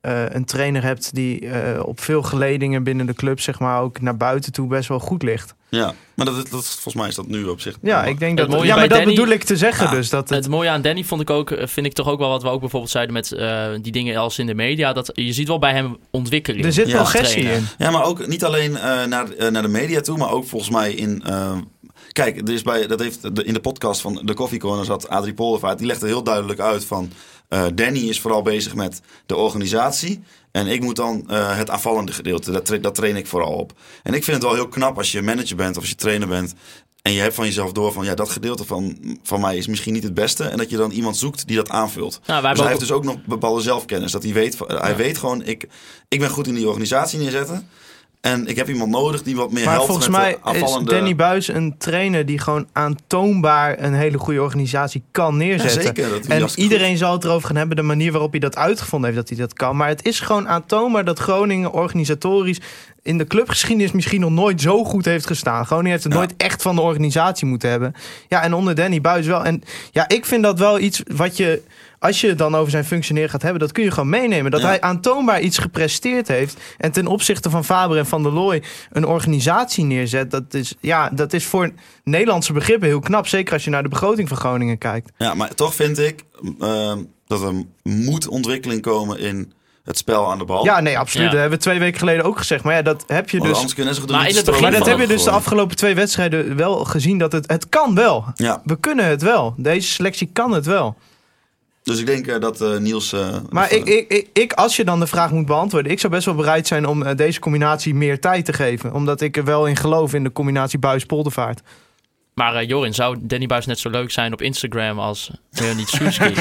[SPEAKER 5] eh, een trainer hebt... die eh, op veel geledingen binnen de club, zeg maar, ook naar buiten toe best wel goed ligt.
[SPEAKER 6] Ja. maar dat, dat, volgens mij is dat nu op zich...
[SPEAKER 5] Ja, ik denk
[SPEAKER 4] Het
[SPEAKER 5] dat...
[SPEAKER 4] mooie
[SPEAKER 5] Ja, maar
[SPEAKER 4] bij
[SPEAKER 5] dat
[SPEAKER 4] Danny-
[SPEAKER 5] bedoel ik te zeggen dus. Dat het,
[SPEAKER 4] Het mooie aan Danny vond ik ook, eh, vind ik toch ook wel wat we ook bijvoorbeeld zeiden met eh, die dingen als in de media. Dat, je ziet wel bij hem ontwikkeling.
[SPEAKER 5] er zit
[SPEAKER 6] Ja,
[SPEAKER 5] progressie
[SPEAKER 4] trainen.
[SPEAKER 5] in.
[SPEAKER 6] Ja, maar ook niet alleen eh, naar, eh, naar de media toe, maar ook volgens mij in. eh, kijk, er is bij, dat heeft de, in de podcast van de Coffee Corner zat Adrie Poldervaart. Die legde heel duidelijk uit van. eh, Danny is vooral bezig met de organisatie. En ik moet dan eh, het aanvallende gedeelte. Dat, tra- dat train ik vooral op. En ik vind het wel heel knap als je manager bent of als je trainer bent. En je hebt van jezelf door van ja, dat gedeelte van, van mij is misschien niet het beste. En dat je dan iemand zoekt die dat aanvult.
[SPEAKER 4] Nou, wij hebben
[SPEAKER 6] dus hij
[SPEAKER 4] ook-
[SPEAKER 6] heeft dus ook nog bepaalde zelfkennis. Dat hij weet, van- hij weet gewoon, ik, ik ben goed in die organisatie neerzetten. En ik heb iemand nodig die wat meer
[SPEAKER 5] Maar
[SPEAKER 6] helpt
[SPEAKER 5] volgens
[SPEAKER 6] met
[SPEAKER 5] mij
[SPEAKER 6] de
[SPEAKER 5] is
[SPEAKER 6] afvallende...
[SPEAKER 5] Danny Buis een trainer die gewoon aantoonbaar een hele goede organisatie kan neerzetten.
[SPEAKER 6] Ja, zeker. Dat doet hij
[SPEAKER 5] en
[SPEAKER 6] hartstikke
[SPEAKER 5] iedereen zal het erover gaan hebben, de manier waarop hij dat uitgevonden heeft, dat hij dat kan. Maar het is gewoon aantoonbaar dat Groningen organisatorisch in de clubgeschiedenis misschien nog nooit zo goed heeft gestaan. Groningen heeft het
[SPEAKER 6] Ja.
[SPEAKER 5] nooit echt van de organisatie moeten hebben. Ja, en onder Danny Buis wel. En ja, ik vind dat wel iets wat je als je het dan over zijn functioneren gaat hebben, dat kun je gewoon meenemen. Dat
[SPEAKER 6] Ja.
[SPEAKER 5] hij aantoonbaar iets gepresteerd heeft. En ten opzichte van Faber en Van der Looy een organisatie neerzet. Dat is, ja, dat is voor Nederlandse begrippen heel knap. Zeker als je naar de begroting van Groningen kijkt.
[SPEAKER 6] Ja, maar toch vind ik ehm, dat er moet ontwikkeling komen in het spel aan de bal.
[SPEAKER 5] Ja, nee, absoluut.
[SPEAKER 4] Ja.
[SPEAKER 5] Dat hebben we twee weken geleden ook gezegd. Maar ja, dat heb je
[SPEAKER 6] Want
[SPEAKER 5] dus.
[SPEAKER 6] anders kunnen ze
[SPEAKER 4] Maar
[SPEAKER 6] gedoe
[SPEAKER 4] in het begin
[SPEAKER 5] Maar dat
[SPEAKER 4] van
[SPEAKER 5] heb je dus de afgelopen twee wedstrijden wel gezien. Dat het, het kan wel.
[SPEAKER 6] Ja,
[SPEAKER 5] We kunnen het wel. Deze selectie kan het wel.
[SPEAKER 6] dus ik denk eh, dat eh, Niels... eh,
[SPEAKER 5] Maar ik,
[SPEAKER 6] even-
[SPEAKER 5] ik, ik, ik, als je dan de vraag moet beantwoorden, ik zou best wel bereid zijn om eh, deze combinatie meer tijd te geven. Omdat ik er wel in geloof in de combinatie buis-poldervaart.
[SPEAKER 4] Maar eh, Jorin, zou Danny Buis net zo leuk zijn op Instagram als Leonid Suski?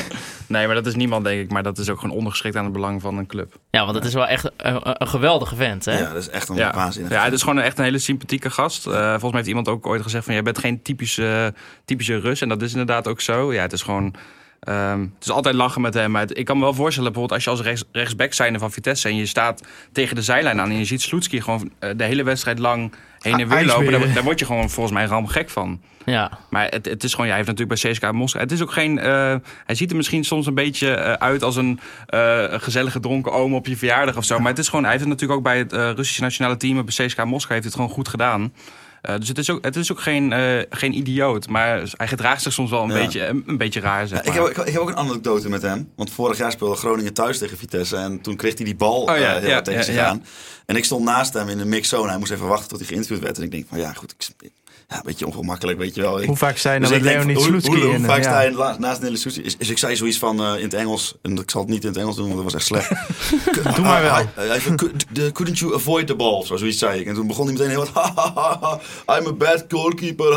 [SPEAKER 2] Nee, maar dat is niemand, denk ik. Maar dat is ook gewoon ondergeschikt aan het belang van een club.
[SPEAKER 4] ja, want het is wel echt een, een- een geweldige vent, hè?
[SPEAKER 6] Ja, dat is echt een
[SPEAKER 2] Ja,
[SPEAKER 6] waanzinnig.
[SPEAKER 2] ja het is gewoon een- echt een hele sympathieke gast. Eh, volgens mij heeft iemand ook ooit gezegd van... jij bent geen typische, typische Rus. En dat is inderdaad ook zo. Ja, het is gewoon... ehm, het is altijd lachen met hem. Maar het- ik kan me wel voorstellen, bijvoorbeeld als je als rechts, rechtsback zijnde van Vitesse... en je staat tegen de zijlijn aan en je ziet Sloetski gewoon eh, de hele wedstrijd lang heen en
[SPEAKER 5] Ah,
[SPEAKER 2] weer lopen... Daar,
[SPEAKER 5] ijsberen.
[SPEAKER 2] daar word je gewoon volgens mij ram gek van.
[SPEAKER 4] Ja.
[SPEAKER 2] Maar het, het is gewoon, ja, hij heeft natuurlijk bij CSK Moskou. Het is ook geen. eh, hij ziet er misschien soms een beetje eh, uit als een eh, een gezellige dronken oom op je verjaardag of zo. Maar het is gewoon, hij heeft het natuurlijk ook bij het eh, Russische nationale team bij CSK Moskou heeft het gewoon goed gedaan. Eh, dus het is ook, het is ook geen, eh, geen idioot. Maar hij gedraagt zich soms wel een,
[SPEAKER 6] Ja.
[SPEAKER 2] beetje, een, een beetje raar. Zeg
[SPEAKER 6] Ja, ik,
[SPEAKER 2] maar.
[SPEAKER 6] heb, ik, heb- ik heb ook een anekdote met hem. Want vorig jaar speelde Groningen thuis tegen Vitesse. En toen kreeg hij die bal
[SPEAKER 2] Oh ja,
[SPEAKER 6] eh, heel hard
[SPEAKER 2] ja,
[SPEAKER 6] tegen
[SPEAKER 2] ja,
[SPEAKER 6] zich
[SPEAKER 2] ja.
[SPEAKER 6] aan. En ik stond naast hem in de mixzone. Hij moest even wachten tot hij geïnterviewd werd. En ik denk van ja, goed. Ik, ja, een beetje ongemakkelijk, weet je wel. Ik-
[SPEAKER 5] Hoe vaak nou zijn
[SPEAKER 6] dus
[SPEAKER 5] dan
[SPEAKER 6] ik
[SPEAKER 5] met
[SPEAKER 6] denk, van,
[SPEAKER 5] Leonid
[SPEAKER 6] hoe,
[SPEAKER 5] Sloetski
[SPEAKER 6] hoe, hoe
[SPEAKER 5] in? eh,
[SPEAKER 6] vaak
[SPEAKER 5] ja.
[SPEAKER 6] sta je la- naast Nelly Sloetski? Is, is- ik zei zoiets van eh, in het Engels. En ik zal het niet in het Engels doen, want dat was echt slecht. Doe
[SPEAKER 5] maar wel.
[SPEAKER 6] Hij zei, "Could- the- couldn't you avoid the ball? Zo, zoiets zei ik. En toen begon hij meteen heel wat. I'm a bad goalkeeper.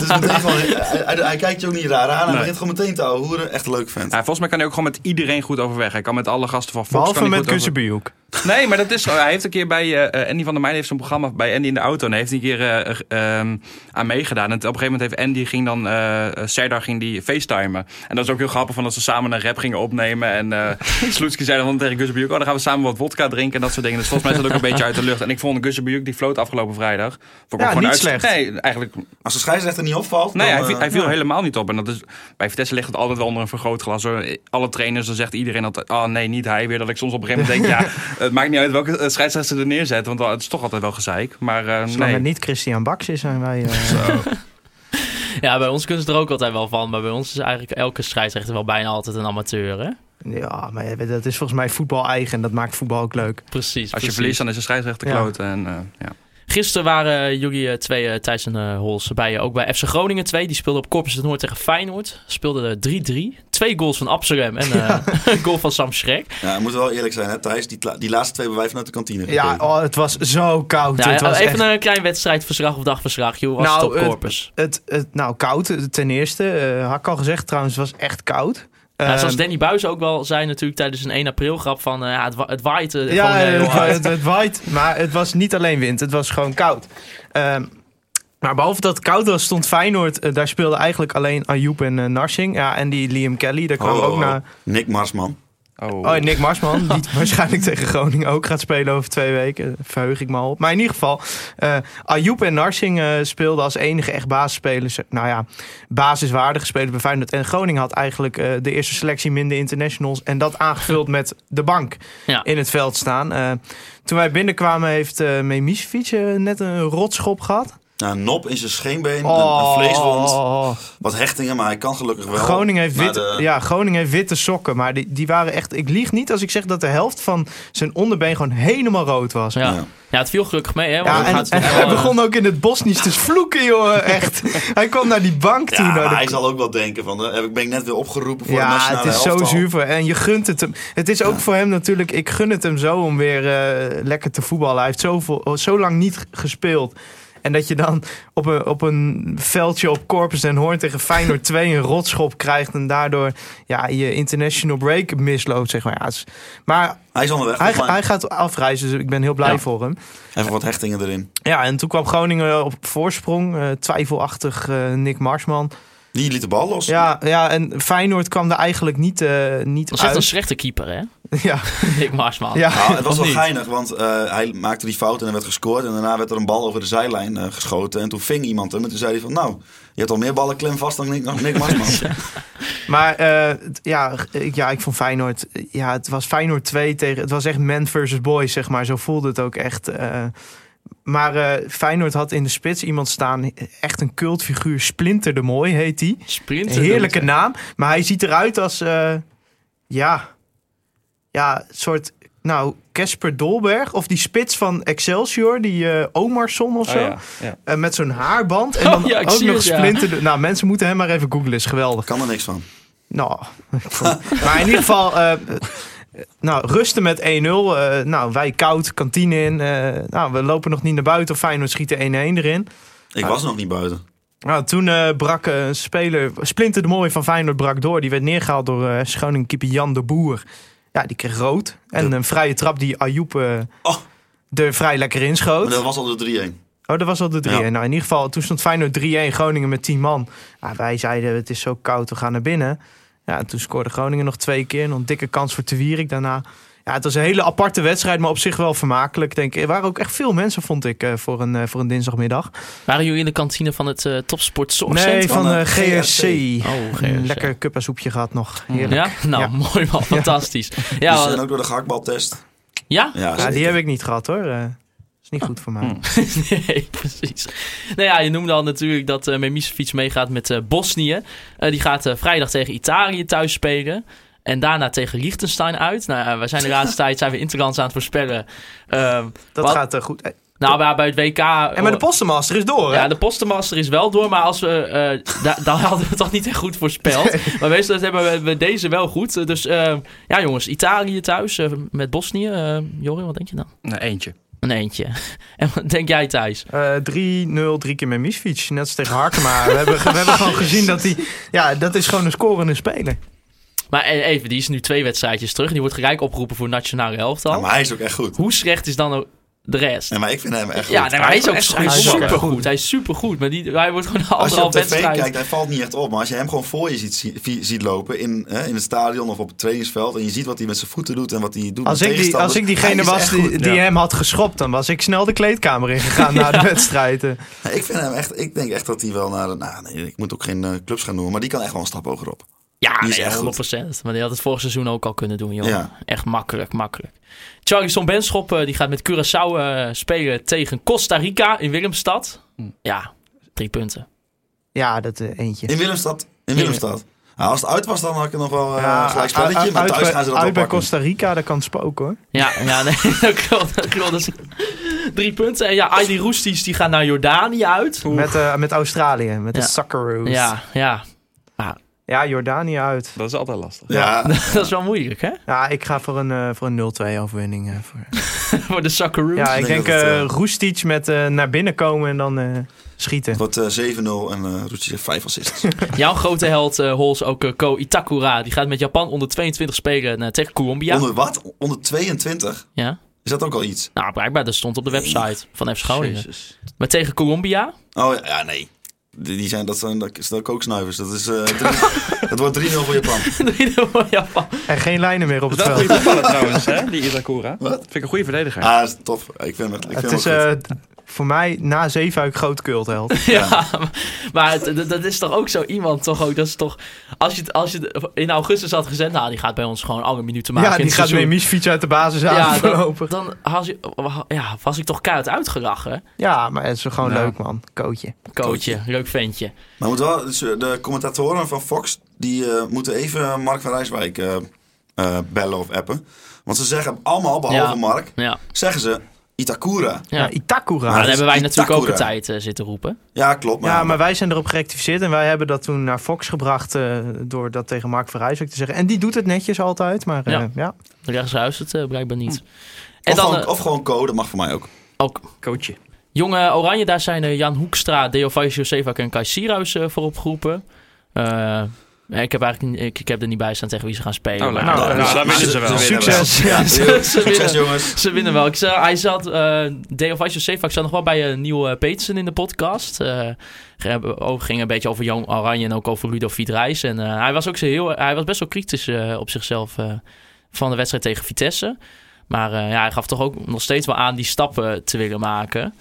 [SPEAKER 6] dus meteen gewoon, hij, hij- hij kijkt je ook niet raar aan. Hij begint gewoon meteen te ouwehoeren. Echt een leuk vent.
[SPEAKER 2] Ja, volgens mij kan hij ook gewoon met iedereen goed overweg. Hij kan met alle gasten van Fox. kan
[SPEAKER 5] Behalve
[SPEAKER 2] hij
[SPEAKER 5] met
[SPEAKER 2] goed over-
[SPEAKER 5] Kusebujuk.
[SPEAKER 2] Nee, maar dat is zo. Hij heeft een keer bij eh, eh, Andy van der Meijden heeft zo'n programma bij Andy in de auto. En hij heeft een keer eh, eh, ehm, aan meegedaan. En op een gegeven moment heeft Andy ging dan eh, eh, Serdar ging die facetimen. En dat is ook heel grappig van dat ze samen een rap gingen opnemen. En eh Sloetski zei dan tegen Gussebujuk, oh dan gaan we samen wat wodka drinken en dat soort dingen. Dus volgens mij is dat ook een beetje uit de lucht. En ik vond Gussebujuk die floot afgelopen vrijdag. Vond ik hem
[SPEAKER 5] Ja,
[SPEAKER 2] gewoon
[SPEAKER 5] niet
[SPEAKER 2] uit-
[SPEAKER 5] slecht.
[SPEAKER 2] Nee, eigenlijk
[SPEAKER 6] Als de scheidsrechter niet opvalt.
[SPEAKER 2] Nee,
[SPEAKER 6] dan,
[SPEAKER 2] hij, viel-
[SPEAKER 6] eh,
[SPEAKER 2] hij viel helemaal niet op. En dat is, bij Vitesse ligt het altijd wel onder een vergrootglas. Hoor. Alle trainers, dan zegt iedereen altijd... Oh nee, niet hij weer. Dat ik soms op een gegeven moment denk... ja, het maakt niet uit welke eh, scheidsrechter er neerzet. Want het is toch altijd wel gezeik. Maar eh,
[SPEAKER 5] Zolang
[SPEAKER 2] nee.
[SPEAKER 5] het niet Christian Baks is, zijn wij... eh,
[SPEAKER 4] ja, bij ons kunnen ze er ook altijd wel van. Maar bij ons is eigenlijk elke scheidsrechter wel bijna altijd een amateur, hè?
[SPEAKER 5] ja, maar ja, dat is volgens mij voetbal eigen. En dat maakt voetbal ook leuk.
[SPEAKER 4] Precies.
[SPEAKER 2] Als je
[SPEAKER 4] precies.
[SPEAKER 2] verliest, dan is de scheidsrechter
[SPEAKER 5] Ja.
[SPEAKER 2] kloot. En, eh, ja.
[SPEAKER 4] Gisteren waren jullie eh, twee, eh, Thijs en eh, Hols, bij je. Ook bij FC Groningen 2. Die speelden op Corpus het Noord tegen Feyenoord. Speelden er 3-3. Twee goals van Amsterdam en eh, een goal van Sam Schrek.
[SPEAKER 6] Ja, we moeten wel eerlijk zijn, hè, Thijs. Die, tla- die laatste twee hebben wij vanuit de kantine
[SPEAKER 5] Ja,
[SPEAKER 6] gekregen.
[SPEAKER 5] oh, het was zo koud.
[SPEAKER 4] Nou,
[SPEAKER 5] het was
[SPEAKER 4] even
[SPEAKER 5] echt-
[SPEAKER 4] naar een klein wedstrijdverslag of dagverslag. Joh, was
[SPEAKER 5] Nou,
[SPEAKER 4] het op
[SPEAKER 5] het-
[SPEAKER 4] Corpus?
[SPEAKER 5] het, het, nou, koud ten eerste. eh had ik al gezegd trouwens, het was echt koud.
[SPEAKER 4] Nou,
[SPEAKER 5] Ehm,
[SPEAKER 4] zoals Danny Buis ook wel zei natuurlijk tijdens een 1 april grap van... eh, ja, het, wa- het waait eh,
[SPEAKER 5] Ja,
[SPEAKER 4] gewoon eh, heel
[SPEAKER 5] het, wa-
[SPEAKER 4] hard.
[SPEAKER 5] het, het waait, maar het was niet alleen wind, het was gewoon koud. Ehm, maar behalve dat het koud was, stond Feyenoord. eh, daar speelden eigenlijk alleen Ayoub en eh, Narsing. Ja, en die Liam Kelly, daar kwam
[SPEAKER 6] Oh,
[SPEAKER 5] ook
[SPEAKER 6] oh,
[SPEAKER 5] naar.
[SPEAKER 6] Nick Marsman.
[SPEAKER 2] Oh.
[SPEAKER 5] Oh, en Nick Marsman, die waarschijnlijk tegen Groningen ook gaat spelen over twee weken. Daar Verheug ik me al op. Maar in ieder geval, eh Ayoub en Narsing eh, speelden als enige echt basisspelers. Nou ja, basiswaardige spelers bij Feyenoord. En Groningen had eigenlijk eh, de eerste selectie minder internationals. En dat aangevuld met de bank
[SPEAKER 4] Ja.
[SPEAKER 5] in het veld staan. Eh, toen wij binnenkwamen heeft eh Memicevic eh, net een rotschop gehad.
[SPEAKER 6] Nou, een nop in zijn scheenbeen, een,
[SPEAKER 5] Oh.
[SPEAKER 6] een vleeswond, wat hechtingen, maar hij kan gelukkig wel.
[SPEAKER 5] Groningen heeft,
[SPEAKER 6] Maar
[SPEAKER 5] wit,
[SPEAKER 6] de-
[SPEAKER 5] ja, Groningen heeft witte sokken. Maar die, die waren echt. Ik lieg niet als ik zeg dat de helft van zijn onderbeen gewoon helemaal rood was.
[SPEAKER 4] Ja.
[SPEAKER 6] Ja.
[SPEAKER 4] ja, het viel gelukkig mee, hè? Want
[SPEAKER 5] Ja,
[SPEAKER 4] dan
[SPEAKER 5] en,
[SPEAKER 4] gaat het
[SPEAKER 5] en
[SPEAKER 4] nog
[SPEAKER 5] hij
[SPEAKER 4] wel, eh,
[SPEAKER 5] begon ook in het Bosnisch te vloeken, jongen. Echt. Hij kwam naar die bank toe.
[SPEAKER 6] Ja,
[SPEAKER 5] naar
[SPEAKER 6] maar
[SPEAKER 5] de-
[SPEAKER 6] hij zal ook wel denken van, eh, ben ik net weer opgeroepen voor de
[SPEAKER 5] ja,
[SPEAKER 6] nationale
[SPEAKER 5] het is zo
[SPEAKER 6] elftal?
[SPEAKER 5] zuur voor En je gunt het hem. Het is ook voor hem natuurlijk... Ik gun het hem zo om weer eh, lekker te voetballen. Hij heeft zoveel, zo lang niet g- gespeeld. En dat je dan op een, op een veldje op Corpus en Hoorn tegen Feyenoord 2 een rotschop krijgt. En daardoor ja, je international break misloopt, zeg maar. Ja, het is- maar
[SPEAKER 6] Hij is onderweg.
[SPEAKER 5] hij,
[SPEAKER 6] volgens mij.
[SPEAKER 5] hij gaat afreizen, dus ik ben heel blij
[SPEAKER 4] Ja.
[SPEAKER 5] voor hem.
[SPEAKER 6] Even wat hechtingen erin.
[SPEAKER 5] Ja, en toen kwam Groningen op voorsprong. eh, twijfelachtig eh, Nick Marsman.
[SPEAKER 6] Die liet de bal los.
[SPEAKER 5] Ja, ja, en Feyenoord kwam er eigenlijk niet, eh niet
[SPEAKER 4] Dat is echt een
[SPEAKER 5] uit.
[SPEAKER 4] slechte keeper, hè?
[SPEAKER 5] Ja,
[SPEAKER 4] Dick Marsman.
[SPEAKER 5] ja.
[SPEAKER 6] Nou, het was
[SPEAKER 4] Of
[SPEAKER 6] wel
[SPEAKER 4] niet?
[SPEAKER 6] geinig, want eh, hij maakte die fout en er werd gescoord. En daarna werd er een bal over de zijlijn eh, geschoten. En toen ving iemand hem. En toen zei hij van, nou, je hebt al meer ballen klem vast dan Nick, dan Nick Marsman.
[SPEAKER 5] Maar eh, t- ja, g- ik- ja, ik vond Feyenoord... eh, Ja, het was Feyenoord 2 tegen... Het was echt man versus boy, zeg maar. Zo voelde het ook echt. eh. maar eh, Feyenoord had in de spits iemand staan. Echt een cultfiguur. Splinter de Mooi heet die.
[SPEAKER 4] Sprinter.
[SPEAKER 5] Een heerlijke naam. Maar hij ziet eruit als... eh, ja... Ja, soort... Nou, Casper Dolberg. Of die spits van Excelsior. Die eh Omarsson of zo.
[SPEAKER 2] Oh, ja. Ja.
[SPEAKER 5] Eh, met zo'n haarband. En dan
[SPEAKER 4] Oh, ja, ik
[SPEAKER 5] ook
[SPEAKER 4] zie
[SPEAKER 5] nog
[SPEAKER 4] het, ja.
[SPEAKER 5] Splinter... de- Nou, mensen moeten hem maar even googlen. Is geweldig.
[SPEAKER 6] Kan er niks van.
[SPEAKER 5] Nou, maar in ieder geval, eh, eh, nou, rusten met 1-0. eh, nou, wij koud, kantine in. eh, nou, we lopen nog niet naar buiten. Of Feyenoord schiet de 1-1 erin.
[SPEAKER 6] Ik was nog niet buiten.
[SPEAKER 5] Nou, toen eh, brak eh, een speler, Splinter de Mooi van Feyenoord brak door. Die werd neergehaald door eh Schoning keeper Jan de Boer. Ja, die kreeg rood. En
[SPEAKER 6] De-
[SPEAKER 5] een vrije trap die Ayoub eh,
[SPEAKER 6] Oh.
[SPEAKER 5] er vrij lekker
[SPEAKER 6] Maar
[SPEAKER 5] inschoot.
[SPEAKER 6] dat was al de 3-1.
[SPEAKER 5] Oh, dat was al de 3-1.
[SPEAKER 6] Ja.
[SPEAKER 5] Nou, in ieder geval, toen stond Feyenoord 3-1, Groningen met 10 man. Ja, wij zeiden, het is zo koud, we gaan naar binnen. Ja, en toen scoorde Groningen nog twee keer. Nog een dikke kans voor Tewierik daarna. Ja, het was een hele aparte wedstrijd, maar op zich wel vermakelijk. Denk ik. Er waren ook echt veel mensen, vond ik, eh, voor, een, eh, voor een dinsdagmiddag.
[SPEAKER 4] Waren jullie in de kantine van het eh, Topsport Zorgcentrum?
[SPEAKER 5] Nee, van
[SPEAKER 6] van,
[SPEAKER 5] eh,
[SPEAKER 6] eh,
[SPEAKER 5] GRC.
[SPEAKER 4] Oh,
[SPEAKER 5] Een
[SPEAKER 4] GRC.
[SPEAKER 5] lekker kuppasoepje gehad nog. Heerlijk. Ja,
[SPEAKER 4] Ja? Nou,
[SPEAKER 5] Ja. Dus, eh,
[SPEAKER 4] mooi man. Fantastisch.
[SPEAKER 6] Ja,
[SPEAKER 4] Ja,
[SPEAKER 6] Dus, en
[SPEAKER 4] ja,
[SPEAKER 6] ook door de gehaktbaltest. Ja,
[SPEAKER 5] die
[SPEAKER 6] zeker.
[SPEAKER 5] heb ik niet gehad hoor. Eh is niet goed voor mij.
[SPEAKER 4] Hmm. nee, precies. Nou ja, je noemde al natuurlijk dat uh, Memisevic meegaat met eh, Bosnië. Eh, die gaat eh, vrijdag tegen Italië thuis spelen. En daarna tegen Liechtenstein uit. Nou, ja, we zijn de laatste tijd zijn we Interlands aan het voorspellen. Ehm,
[SPEAKER 5] Dat
[SPEAKER 4] Wat?
[SPEAKER 5] gaat eh, goed. Eh,
[SPEAKER 4] nou, maar bij het WK...
[SPEAKER 5] En maar de Postenmaster is door. hè?
[SPEAKER 4] Ja, de postenmaster is wel door, maar als we, eh da- dan hadden we het toch niet echt goed voorspeld. maar meestal hebben we, we deze wel goed. Eh, Dus eh, ja, jongens, Italië thuis eh, met Bosnië. Eh Jorin, wat denk je dan?
[SPEAKER 2] Nou, eentje.
[SPEAKER 4] Een eentje. en wat denk jij, Thijs?
[SPEAKER 5] Eh, 3-0, drie keer met Misfiets. Net als tegen Harkema. we, hebben, we hebben gewoon gezien dat hij... Ja, dat is gewoon een scorende speler.
[SPEAKER 4] Maar eh, even, die is nu twee wedstrijdjes terug. Die wordt gelijk opgeroepen voor nationale elftal.
[SPEAKER 6] Ja, maar hij is ook echt goed.
[SPEAKER 4] Hoe slecht is dan ook de rest?
[SPEAKER 6] Ja, maar ik vind hem echt
[SPEAKER 4] ja,
[SPEAKER 6] goed.
[SPEAKER 4] nee, maar hij is ook
[SPEAKER 2] Hij is
[SPEAKER 4] hij is
[SPEAKER 5] supergoed.
[SPEAKER 4] supergoed. Hij is supergoed. Maar die, hij wordt gewoon een
[SPEAKER 6] Als je op
[SPEAKER 4] anderhalf
[SPEAKER 6] tv
[SPEAKER 4] wedstrijd.
[SPEAKER 6] kijkt, hij valt niet echt op. Maar als je hem gewoon voor je ziet, zie- vi- ziet lopen in, hè, in het stadion of op het trainingsveld... en je ziet wat hij met zijn voeten doet en wat hij doet
[SPEAKER 5] Als
[SPEAKER 6] met
[SPEAKER 5] ik, die, als
[SPEAKER 6] tegenstanders,
[SPEAKER 5] ik diegene
[SPEAKER 6] hij is
[SPEAKER 5] was
[SPEAKER 6] echt
[SPEAKER 5] die,
[SPEAKER 6] goed.
[SPEAKER 5] die
[SPEAKER 2] Ja.
[SPEAKER 5] hem had geschopt... dan was ik snel de kleedkamer ingegaan na de wedstrijd. eh.
[SPEAKER 6] Ja, Ik vind hem echt... Ik denk echt dat hij wel naar... de- Nou, nee, ik moet ook geen eh, clubs gaan noemen. Maar die kan echt wel een stap hogerop.
[SPEAKER 4] Ja,
[SPEAKER 6] Die is
[SPEAKER 4] nee,
[SPEAKER 6] echt
[SPEAKER 4] 100%. Maar die had het vorig seizoen ook al kunnen doen, joh.
[SPEAKER 6] Ja.
[SPEAKER 4] Echt makkelijk, makkelijk. Charlison Benschop eh, die gaat met Curaçao eh, spelen tegen Costa Rica in Willemstad. Ja, drie punten.
[SPEAKER 5] Ja, dat eh, eentje.
[SPEAKER 6] In Willemstad. In Willemstad. Nou, als het uit was, dan had ik het nog wel eh
[SPEAKER 5] Ja,
[SPEAKER 6] gelijk spelletje.
[SPEAKER 5] uit-
[SPEAKER 6] Maar
[SPEAKER 5] uit-
[SPEAKER 6] thuis gaan ze dat
[SPEAKER 5] Uit bij
[SPEAKER 6] oppakken.
[SPEAKER 5] Costa Rica, dat kan spoken hoor.
[SPEAKER 4] Ja, ja nee, dat klopt. Dat klopt. Dat is drie punten. En ja, Aidi Roesties die gaat naar Jordanië uit.
[SPEAKER 5] Met, eh, met Australië, met
[SPEAKER 4] Ja.
[SPEAKER 5] de Socceroos.
[SPEAKER 4] Ja, ja.
[SPEAKER 5] ja, Jordanië uit.
[SPEAKER 2] Dat is altijd lastig.
[SPEAKER 6] Ja,
[SPEAKER 4] Dat is wel moeilijk, hè?
[SPEAKER 5] Ja, ik ga voor een, eh, voor een 0-2 overwinning. eh, voor.
[SPEAKER 4] Voor de Socceroos.
[SPEAKER 5] Ja, ik
[SPEAKER 6] Ik denk
[SPEAKER 5] denk
[SPEAKER 6] dat het,
[SPEAKER 5] eh
[SPEAKER 6] eh,
[SPEAKER 5] Roestic met eh, naar binnen komen en dan eh, schieten.
[SPEAKER 6] het wordt eh, 7-0 en eh Roetje heeft 5 assists.
[SPEAKER 4] Jouw grote held, eh Hols, ook eh, Ko Itakura. Die gaat met Japan onder 22 spelen eh, tegen Colombia.
[SPEAKER 6] Onder wat? Onder 22?
[SPEAKER 4] Ja.
[SPEAKER 6] Is dat ook al iets?
[SPEAKER 4] Nou, blijkbaar, dat stond op de website van F. Groningen.
[SPEAKER 2] Jezus.
[SPEAKER 4] Maar tegen Colombia,
[SPEAKER 6] Oh ja, ja, nee. Die die zijn, dat zijn, dat zijn kooksnuivers. Dat is, eh, drie- het wordt 3-0 voor Japan.
[SPEAKER 4] drie voor Japan.
[SPEAKER 5] En geen lijnen meer op
[SPEAKER 2] Dat
[SPEAKER 5] het
[SPEAKER 2] is wel
[SPEAKER 5] veld.
[SPEAKER 2] een goede voetballer trouwens, hè? Die Itakura.
[SPEAKER 6] Wat?
[SPEAKER 2] Vind ik een goede verdediger.
[SPEAKER 6] Ah, dat is tof. Ik vind het, ik vind
[SPEAKER 5] Het
[SPEAKER 6] het
[SPEAKER 5] is
[SPEAKER 6] wel goed.
[SPEAKER 5] eh, d- voor mij na Zeefuik groot cultheld.
[SPEAKER 4] Ja, maar- maar het- dat- dat is toch ook zo iemand, toch ook? Dat is toch, als je, het- als je het in augustus had gezet, nou, die gaat bij ons gewoon alle minuten maken.
[SPEAKER 5] ja,
[SPEAKER 4] in
[SPEAKER 5] die
[SPEAKER 4] het
[SPEAKER 5] gaat mee
[SPEAKER 4] seizoen.
[SPEAKER 5] misfiets uit de basis aan
[SPEAKER 4] Ja, dan,
[SPEAKER 5] voorlopig.
[SPEAKER 4] dan had je, ja, was ik toch keihard uitgelachen,
[SPEAKER 5] Ja, maar het is gewoon
[SPEAKER 2] Ja.
[SPEAKER 5] leuk man. Kootje.
[SPEAKER 4] coachje, leuk ventje.
[SPEAKER 6] Maar moet wel, dus, eh, de commentatoren van Fox die, eh, moeten even Mark van Rijswijk eh, eh, bellen of appen. Want ze zeggen allemaal, behalve
[SPEAKER 4] Ja.
[SPEAKER 6] Mark,
[SPEAKER 4] Ja,
[SPEAKER 6] zeggen ze Itakura.
[SPEAKER 4] ja.
[SPEAKER 5] Ja.
[SPEAKER 4] Maar
[SPEAKER 5] Itakura.
[SPEAKER 6] Maar
[SPEAKER 4] dan
[SPEAKER 6] dat
[SPEAKER 4] hebben
[SPEAKER 6] is
[SPEAKER 4] wij natuurlijk ook een
[SPEAKER 6] Itakura.
[SPEAKER 4] tijd eh, zitten roepen.
[SPEAKER 6] Ja, klopt. Maar,
[SPEAKER 5] ja, maar wij zijn erop gerectificeerd en wij hebben dat toen naar Fox gebracht eh, door dat tegen Mark van Rijswijk te zeggen. En die doet het netjes altijd, maar eh,
[SPEAKER 4] Ja.
[SPEAKER 5] ja.
[SPEAKER 4] Rechtshuis het eh, blijkbaar niet. En
[SPEAKER 6] of,
[SPEAKER 4] dan
[SPEAKER 6] gewoon,
[SPEAKER 4] eh,
[SPEAKER 6] of gewoon code, mag voor mij ook.
[SPEAKER 4] ook
[SPEAKER 2] Coachje.
[SPEAKER 4] Jonge Oranje, daar zijn eh, Jan Hoekstra, Deovaris Josefa en Kai Sierhuis eh, voor opgeroepen. Eh, Nee, ik, heb eigenlijk, niet- ik, ik heb er niet bij staan tegen wie ze gaan spelen.
[SPEAKER 2] Oh,
[SPEAKER 4] maar-
[SPEAKER 2] nou,
[SPEAKER 6] Nou,
[SPEAKER 2] nou,
[SPEAKER 6] nou,
[SPEAKER 2] daar winnen ze wel.
[SPEAKER 6] ze winnen
[SPEAKER 5] Succes.
[SPEAKER 6] wel.
[SPEAKER 5] Ja.
[SPEAKER 4] Ze- ze
[SPEAKER 6] Succes
[SPEAKER 4] winnen.
[SPEAKER 6] jongens.
[SPEAKER 4] Ze winnen wel. Ik zag, hij zat, eh Day of Ice Safe, ik zat nog wel bij eh, Neil eh, Petersen in de podcast. Eh ge- ook ging een beetje over Jong Oranje en ook over Ludovic Reis. En eh, hij, was ook zo heel, hij was best wel kritisch eh, op zichzelf eh, van de wedstrijd tegen Vitesse. Maar eh, ja, hij gaf toch ook nog steeds wel aan die stappen te willen maken.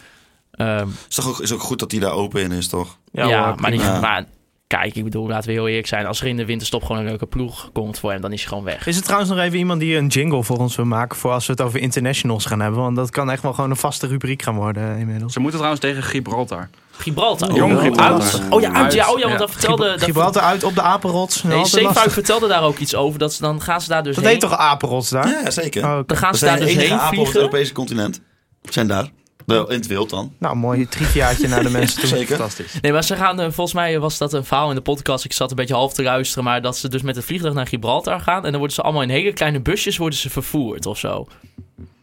[SPEAKER 4] Ehm,
[SPEAKER 6] Is toch ook, is ook goed dat hij daar open in is, toch?
[SPEAKER 4] ja,
[SPEAKER 5] hoor,
[SPEAKER 4] maar, die-
[SPEAKER 6] prima.
[SPEAKER 4] maar kijk, ik bedoel, laten we heel eerlijk zijn. Als er in de winterstop gewoon een leuke ploeg komt voor hem, dan is hij gewoon weg.
[SPEAKER 5] Is er trouwens nog even iemand die een jingle voor ons wil maken voor als we het over internationals gaan hebben? Want dat kan echt wel gewoon een vaste rubriek gaan worden eh, inmiddels.
[SPEAKER 2] Ze moeten trouwens tegen Gibraltar.
[SPEAKER 4] Gibraltar.
[SPEAKER 6] Jong
[SPEAKER 4] Oh,
[SPEAKER 6] Gibraltar.
[SPEAKER 4] uit. Oh ja, uit. Ja, oh ja, want dat vertelde... dat-
[SPEAKER 5] Gibraltar uit op de apenrots.
[SPEAKER 4] Nee,
[SPEAKER 5] Altijd
[SPEAKER 4] Zeefuik
[SPEAKER 5] lastig.
[SPEAKER 4] vertelde daar ook iets over. Dat ze, dan gaan ze daar dus
[SPEAKER 5] Dat
[SPEAKER 4] heen.
[SPEAKER 5] heet toch apenrots daar?
[SPEAKER 6] Ja, zeker.
[SPEAKER 5] Oh,
[SPEAKER 6] We
[SPEAKER 5] oké.
[SPEAKER 4] Dan gaan ze daar
[SPEAKER 6] zijn de
[SPEAKER 4] dus
[SPEAKER 6] enige
[SPEAKER 4] heen
[SPEAKER 6] apen op het
[SPEAKER 4] vliegen.
[SPEAKER 6] Europese continent. Zijn daar. De, in het wild dan.
[SPEAKER 5] Nou, mooi triviaatje naar de mensen toe.
[SPEAKER 6] Zeker.
[SPEAKER 5] Fantastisch.
[SPEAKER 4] Nee, maar ze gaan... eh, volgens mij was dat een verhaal in de podcast. Ik zat een beetje half te luisteren. Maar dat ze dus met het vliegtuig naar Gibraltar gaan. En dan worden ze allemaal in hele kleine busjes worden ze vervoerd of zo.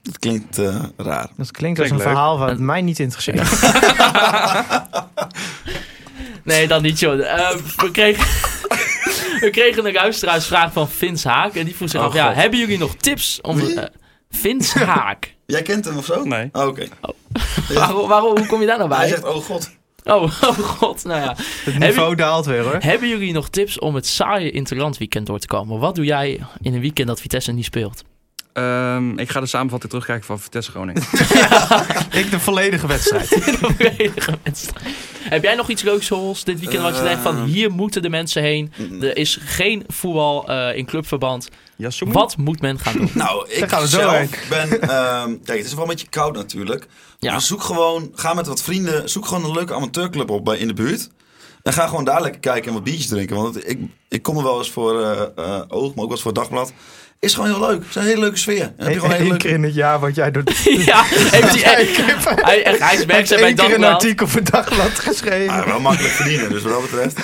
[SPEAKER 6] Dat klinkt eh, raar.
[SPEAKER 5] Dat klinkt als een
[SPEAKER 2] Klinkt leuk.
[SPEAKER 5] verhaal wat mij niet interesseert.
[SPEAKER 4] Nee, dat niet, joh. Eh, we, kregen, we kregen een luisteraarsvraag van Vince Haak. En die vroeg zich
[SPEAKER 2] Oh,
[SPEAKER 4] af... Ja,
[SPEAKER 2] God.
[SPEAKER 4] hebben jullie nog tips om...
[SPEAKER 6] Wie?
[SPEAKER 4] eh, Vince Haak.
[SPEAKER 6] Jij kent hem of zo?
[SPEAKER 2] Nee.
[SPEAKER 6] Oh, Oké.
[SPEAKER 4] Waarom, waarom, hoe kom je daar nou
[SPEAKER 6] Hij
[SPEAKER 4] bij?
[SPEAKER 6] zegt, oh god.
[SPEAKER 4] Oh, oh god, nou ja.
[SPEAKER 5] Het niveau daalt weer hoor.
[SPEAKER 4] Hebben jullie nog tips om het saaie interlandweekend door te komen? Wat doe jij in een weekend dat Vitesse niet speelt?
[SPEAKER 2] Ehm, ik ga de samenvatting terugkijken van Vitesse Groningen.
[SPEAKER 5] Ik de volledige wedstrijd.
[SPEAKER 4] De volledige wedstrijd. Heb jij nog iets leuks, Hols, dit weekend? Wat je
[SPEAKER 6] Eh.
[SPEAKER 4] denkt van, hier moeten de mensen heen.
[SPEAKER 6] Mm.
[SPEAKER 4] Er is geen voetbal eh, in clubverband.
[SPEAKER 2] Yasumi?
[SPEAKER 4] Wat moet men gaan doen?
[SPEAKER 6] Nou, ik
[SPEAKER 5] gaan we zo
[SPEAKER 6] zelf ben... ehm, kijk, het is wel een beetje koud natuurlijk.
[SPEAKER 4] Ja.
[SPEAKER 6] Maar zoek gewoon... Ga met wat vrienden. Zoek gewoon een leuke amateurclub op bij, in de buurt. En ga gewoon daar lekker kijken en wat biertjes drinken. Want het- ik, ik kom er wel eens voor eh, eh, oog, maar ook wel eens voor dagblad. Is gewoon heel leuk. Het is een hele leuke sfeer. En dan heb je gewoon een
[SPEAKER 5] Eén
[SPEAKER 6] hele leuke...
[SPEAKER 5] keer in het jaar wat jij doet.
[SPEAKER 4] ja, heeft hij echt... Hij, echt, hij is werkzaam bij
[SPEAKER 5] Eén keer een
[SPEAKER 4] Dagblad.
[SPEAKER 5] artikel voor Dagblad
[SPEAKER 6] Ah,
[SPEAKER 5] geschreven.
[SPEAKER 6] wel makkelijk verdienen, dus wat dat betreft.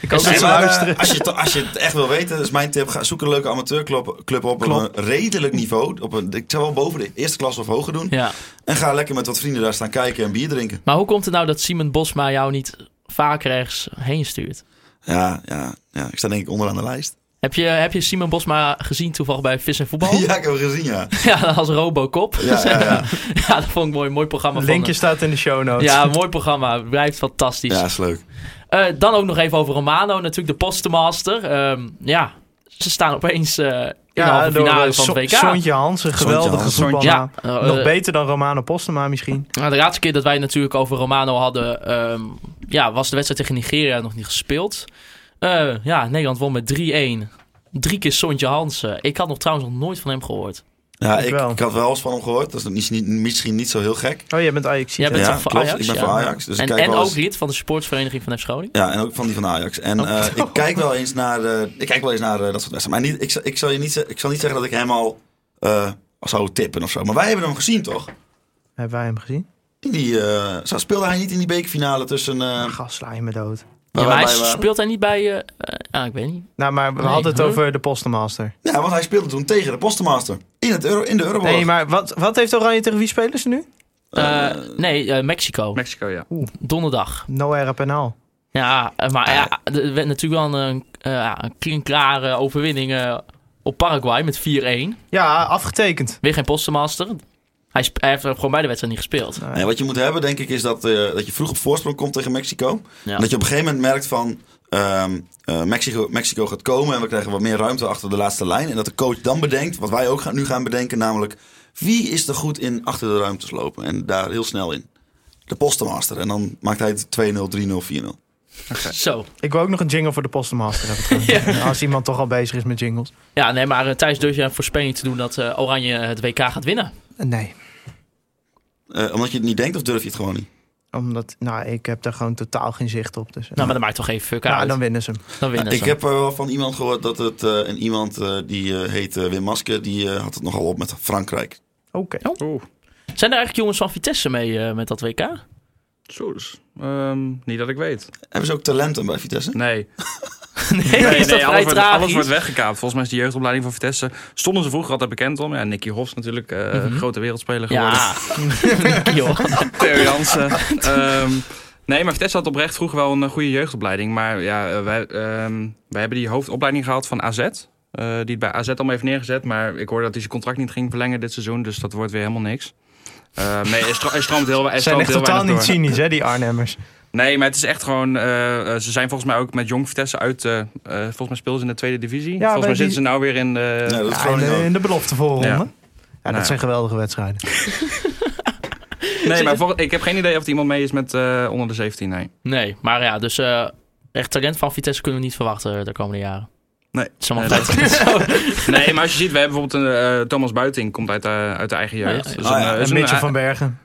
[SPEAKER 5] Ik kan
[SPEAKER 6] Nee,
[SPEAKER 5] niet
[SPEAKER 6] maar, eh,
[SPEAKER 5] luisteren.
[SPEAKER 6] als, je het, als je het echt wil weten, dat is mijn tip. Ga, zoek een leuke amateurclub club op
[SPEAKER 5] Klopt.
[SPEAKER 6] een redelijk niveau. Op een, ik zou wel boven de eerste klas of hoger doen.
[SPEAKER 4] Ja.
[SPEAKER 6] En ga lekker met wat vrienden daar staan kijken en bier drinken.
[SPEAKER 4] Maar hoe komt het nou dat Simon Bosma jou niet vaak rechts heen stuurt?
[SPEAKER 6] Ja, ja, ja. Ik sta denk ik onderaan de lijst.
[SPEAKER 4] Heb je, heb je Simon Bosma gezien toevallig bij Vis en Voetbal?
[SPEAKER 6] Ja, ik heb hem gezien, ja.
[SPEAKER 4] Ja, als Robocop.
[SPEAKER 6] Ja, ja, ja.
[SPEAKER 4] Ja, dat vond ik mooi. Mooi programma. van
[SPEAKER 5] Linkje staat in de show notes.
[SPEAKER 4] Ja, mooi programma. Blijft fantastisch.
[SPEAKER 6] Ja, is leuk.
[SPEAKER 4] Eh, dan ook nog even over Romano. Natuurlijk de postmaster. Ehm, ja, ze staan opeens eh, in de halve
[SPEAKER 5] door
[SPEAKER 4] finale
[SPEAKER 5] eh,
[SPEAKER 4] van
[SPEAKER 5] Son-
[SPEAKER 4] het WK.
[SPEAKER 5] Sontje Hansen, geweldige
[SPEAKER 6] Hansen.
[SPEAKER 5] voetballer.
[SPEAKER 4] Ja, eh,
[SPEAKER 5] Nog
[SPEAKER 4] eh,
[SPEAKER 5] beter dan Romano Postema misschien.
[SPEAKER 4] Nou, de laatste keer dat wij het natuurlijk over Romano hadden... ehm, ja, was de wedstrijd tegen Nigeria nog niet gespeeld. Eh, ja, Nederland won met 3-1. Drie keer Sontje Hansen. Ik had nog trouwens nog nooit van hem gehoord.
[SPEAKER 6] Ja,
[SPEAKER 5] Ik
[SPEAKER 6] ik,
[SPEAKER 5] wel.
[SPEAKER 6] ik had wel eens van hem gehoord. Dat is niet- niet, misschien niet zo heel gek.
[SPEAKER 5] Oh, jij bent Ajax.
[SPEAKER 4] Jij bent
[SPEAKER 6] Ja,
[SPEAKER 4] toch voor
[SPEAKER 6] klopt.
[SPEAKER 4] Ajax?
[SPEAKER 6] Ik ben
[SPEAKER 4] Ja.
[SPEAKER 6] voor Ajax, dus ik
[SPEAKER 4] en
[SPEAKER 6] kijk
[SPEAKER 4] en
[SPEAKER 6] wel eens-
[SPEAKER 4] ook lid van de sportsvereniging van FC Groningen.
[SPEAKER 6] Ja, en ook van die van Ajax. En eh, ik kijk wel eens naar, eh, ik kijk wel eens naar eh, dat soort wedstrijden. Maar niet, ik, zal- ik, zal je niet, ze- ik zal niet zeggen dat ik hem al eh, zou tippen of zo. Maar wij hebben hem gezien, toch?
[SPEAKER 5] Hebben wij hem gezien?
[SPEAKER 6] In die, eh, zo- speelde hij niet in die bekerfinale tussen... eh,
[SPEAKER 5] Gast, sla je me dood.
[SPEAKER 6] waar
[SPEAKER 4] Ja,
[SPEAKER 6] wij
[SPEAKER 4] maar hij
[SPEAKER 6] bij waren?
[SPEAKER 4] speelt hij niet bij... eh, eh, ah, ik weet niet.
[SPEAKER 5] Nou, maar we
[SPEAKER 4] Nee,
[SPEAKER 5] hadden het
[SPEAKER 4] huh?
[SPEAKER 5] over de Postemaster.
[SPEAKER 6] Ja, want hij speelde toen tegen de Postmaster. In, het Euro, in de Euroborg.
[SPEAKER 5] Nee, maar wat, wat heeft Oranje tegen wie spelen ze nu?
[SPEAKER 4] Eh, nee, eh, Mexico.
[SPEAKER 2] Mexico, ja.
[SPEAKER 4] Donderdag.
[SPEAKER 5] Noera Penal.
[SPEAKER 4] Ja, eh, maar ja, er werd natuurlijk wel een, eh, ja, een klinkklare overwinning eh, op Paraguay met 4-1.
[SPEAKER 5] Ja, afgetekend.
[SPEAKER 4] Weer geen postmaster. Hij, sp- hij heeft gewoon bij de wedstrijd niet gespeeld.
[SPEAKER 6] Nee, Nou wat je moet hebben, denk ik, is dat, eh, dat je vroeg op voorsprong komt tegen Mexico.
[SPEAKER 4] Ja.
[SPEAKER 6] En dat je op een gegeven moment merkt van... ehm, eh, Mexico, Mexico gaat komen en we krijgen wat meer ruimte achter de laatste lijn. En dat de coach dan bedenkt, wat wij ook gaan, nu gaan bedenken, namelijk... Wie is er goed in achter de ruimtes lopen? En daar heel snel in. De Postmaster. En dan maakt hij het 2-0, 3-0, 4-0.
[SPEAKER 4] Zo.
[SPEAKER 5] Ik wil ook nog een jingle voor de Postemaster hebben. trouwens. Als iemand toch al bezig is met jingles.
[SPEAKER 4] Ja, nee, maar eh, Thijs, durf jij voor Spanje te doen dat eh, Oranje het WK gaat winnen?
[SPEAKER 5] Nee,
[SPEAKER 6] Eh, omdat je het niet denkt of durf je het gewoon niet?
[SPEAKER 5] omdat nou, ik heb daar gewoon totaal geen zicht op. Dus, eh.
[SPEAKER 4] Nou, maar dat maakt toch geen fuck
[SPEAKER 5] Nou,
[SPEAKER 4] uit.
[SPEAKER 5] dan
[SPEAKER 4] Dan,
[SPEAKER 5] winnen ze hem.
[SPEAKER 4] winnen
[SPEAKER 6] ik
[SPEAKER 4] ze.
[SPEAKER 6] heb eh, wel van iemand gehoord dat het eh, een iemand eh, die eh, heet eh, Wim Maske, die eh, had het nogal op met Frankrijk.
[SPEAKER 5] Oké.
[SPEAKER 2] Oeh,
[SPEAKER 4] Zijn er eigenlijk jongens van Vitesse mee eh, met dat WK?
[SPEAKER 2] zo dus. Ehm, niet dat ik weet.
[SPEAKER 6] Hebben ze ook talenten bij Vitesse?
[SPEAKER 5] Eh,
[SPEAKER 2] Nee.
[SPEAKER 4] Nee,
[SPEAKER 2] Nee,
[SPEAKER 4] is dat
[SPEAKER 2] nee,
[SPEAKER 4] vrij
[SPEAKER 2] alles, wordt,
[SPEAKER 4] tragisch?
[SPEAKER 2] alles wordt weggekaapt. Volgens mij is de jeugdopleiding van Vitesse... stonden ze vroeger altijd bekend om. Ja, Nicky Hofs natuurlijk, eh,
[SPEAKER 4] Ah.
[SPEAKER 2] grote wereldspeler geworden.
[SPEAKER 4] Ja. Joh.
[SPEAKER 2] Theo Jansen. Ehm, Nee, maar Vitesse had oprecht vroeger wel een eh, goede jeugdopleiding. Maar ja, eh, wij, ehm, wij hebben die hoofdopleiding gehad van AZ. eh, die het bij AZ allemaal heeft neergezet. Maar ik hoorde dat hij zijn contract niet ging verlengen dit seizoen. Dus dat wordt weer helemaal niks. Eh, nee, hij stra- hij stroomt heel, hij
[SPEAKER 5] Ze zijn
[SPEAKER 2] stroomt
[SPEAKER 5] echt
[SPEAKER 2] heel
[SPEAKER 5] totaal
[SPEAKER 2] weinig
[SPEAKER 5] niet
[SPEAKER 2] door.
[SPEAKER 5] cynisch, hè, die Arnhemmers.
[SPEAKER 2] Nee, maar het is echt gewoon... eh, eh, ze zijn volgens mij ook met Jong Vitesse uit... eh, eh, volgens mij speelden ze in de tweede divisie. volgens
[SPEAKER 5] bij
[SPEAKER 2] mij
[SPEAKER 5] die-
[SPEAKER 2] zitten ze nou weer in de...
[SPEAKER 6] Ja, dat
[SPEAKER 5] Ja,
[SPEAKER 6] gewoon
[SPEAKER 5] in, de, in de belofte voorronde.
[SPEAKER 2] Ja.
[SPEAKER 5] Ja. dat
[SPEAKER 2] Nou ja.
[SPEAKER 5] zijn geweldige wedstrijden.
[SPEAKER 2] nee, maar vol- ik heb geen idee of er iemand mee is met eh, onder de 17, nee.
[SPEAKER 4] Nee, maar ja, dus eh, echt talent van Vitesse kunnen we niet verwachten de komende jaren.
[SPEAKER 2] Nee.
[SPEAKER 4] Het is allemaal
[SPEAKER 2] Nee,
[SPEAKER 4] feit.
[SPEAKER 2] Eh, Nee, maar als je ziet, we hebben bijvoorbeeld een, eh, Thomas Buiting, komt uit, eh, uit de eigen jeugd.
[SPEAKER 4] Ja,
[SPEAKER 2] Dus
[SPEAKER 6] ja.
[SPEAKER 2] een,
[SPEAKER 6] Ah, ja,
[SPEAKER 2] eh, is
[SPEAKER 5] En
[SPEAKER 2] een,
[SPEAKER 5] Mitchell
[SPEAKER 2] eh,
[SPEAKER 5] van Bergen.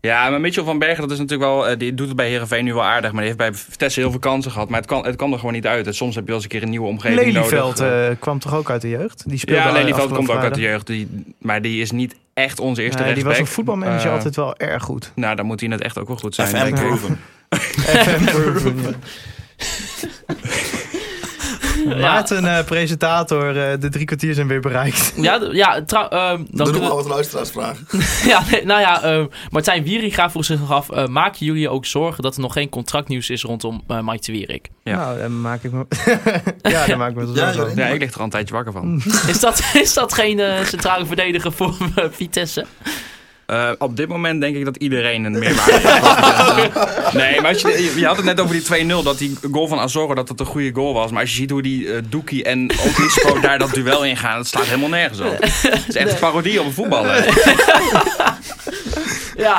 [SPEAKER 2] Ja, maar Mitchell van Bergen, dat is natuurlijk wel, eh, die doet het bij Herenveen nu wel aardig. Maar die heeft bij Vitesse heel veel kansen gehad. Maar het kan, het kan er gewoon niet uit. En soms heb je wel eens een keer een nieuwe omgeving
[SPEAKER 5] Lelyveld
[SPEAKER 2] nodig.
[SPEAKER 5] eh, kwam toch ook uit de jeugd? Die speelde
[SPEAKER 2] ja,
[SPEAKER 5] al
[SPEAKER 2] Lelyveld
[SPEAKER 5] afgelopen
[SPEAKER 2] komt ook uit de
[SPEAKER 5] vrijdag.
[SPEAKER 2] jeugd. Die, maar die is niet echt onze eerste
[SPEAKER 5] Nee, die was
[SPEAKER 2] rechtsback.
[SPEAKER 5] een voetbalmanager
[SPEAKER 2] Eh,
[SPEAKER 5] altijd wel erg goed.
[SPEAKER 2] Nou, dan moet hij net echt ook wel goed zijn,
[SPEAKER 6] FM
[SPEAKER 2] denk ik.
[SPEAKER 6] proven.
[SPEAKER 5] FM proven, ja. Maarten, eh, presentator, eh, de drie kwartier zijn weer bereikt.
[SPEAKER 4] Ja, d- ja, trouw- ehm, dan
[SPEAKER 6] Dan doen we
[SPEAKER 4] kunnen
[SPEAKER 6] al
[SPEAKER 4] we-
[SPEAKER 6] wat luisteraarsvragen.
[SPEAKER 4] ja, nee, nou ja, ehm, Martijn Wieringa vroeg zich nog af, eh, maken jullie ook zorgen dat er nog geen contractnieuws is rondom eh Mike de Wierik?
[SPEAKER 2] Ja.
[SPEAKER 5] Nou, dan maak ik me... ja, dan maak ik me
[SPEAKER 6] Ja,
[SPEAKER 5] zorgen
[SPEAKER 6] joh.
[SPEAKER 5] over.
[SPEAKER 2] Ja, ik lig er al een tijdje wakker van.
[SPEAKER 5] Mhm.
[SPEAKER 4] Is dat, is dat geen eh, centrale verdediger voor eh, Vitesse?
[SPEAKER 2] Eh, op dit moment denk ik dat iedereen een meerwaarde heeft. nee, maar als je, je- je had het net over die 2-0, dat die goal van Azorro dat dat een goede goal was. Maar als je ziet hoe die eh, Doekie en Obispo daar dat duel in gaan, dat slaat helemaal nergens op. Het is echt een parodie op een voetballer.
[SPEAKER 4] Ja,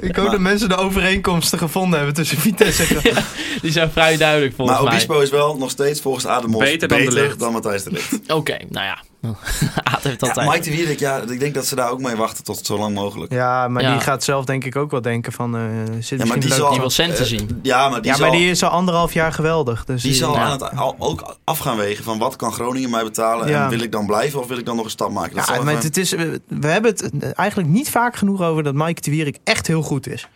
[SPEAKER 5] Ik hoop dat mensen de overeenkomsten gevonden hebben tussen Vitesse en...
[SPEAKER 4] die zijn vrij duidelijk volgens
[SPEAKER 6] Maar
[SPEAKER 4] mij.
[SPEAKER 6] Obispo is wel nog steeds volgens Ademos
[SPEAKER 2] Beter dan De Ligt.
[SPEAKER 6] dan Matthijs de Ligt.
[SPEAKER 4] Oké, nou ja. Aad heeft
[SPEAKER 6] Ja,
[SPEAKER 4] altijd.
[SPEAKER 6] Mike de Wierik, ja, ik denk dat ze daar ook mee wachten tot het zo lang mogelijk.
[SPEAKER 5] Ja, maar
[SPEAKER 4] Ja.
[SPEAKER 5] die gaat zelf denk ik ook wel denken van... eh, zit
[SPEAKER 6] maar
[SPEAKER 5] misschien
[SPEAKER 6] die
[SPEAKER 5] leuk
[SPEAKER 6] zal-
[SPEAKER 4] die wil centen
[SPEAKER 6] Eh,
[SPEAKER 4] zien.
[SPEAKER 6] Ja, maar die
[SPEAKER 5] Ja,
[SPEAKER 6] zal,
[SPEAKER 5] maar die is al anderhalf jaar geweldig. Dus
[SPEAKER 6] die zal
[SPEAKER 5] ja.
[SPEAKER 6] aan het, al, ook af gaan wegen van wat kan Groningen mij betalen
[SPEAKER 5] Ja.
[SPEAKER 6] en wil ik dan blijven of wil ik dan nog een stap maken. Dat
[SPEAKER 5] Ja,
[SPEAKER 6] zal
[SPEAKER 5] maar
[SPEAKER 6] even-
[SPEAKER 5] het is, we we hebben het eh, eigenlijk niet vaak genoeg over dat Mike de Wierik echt heel goed is.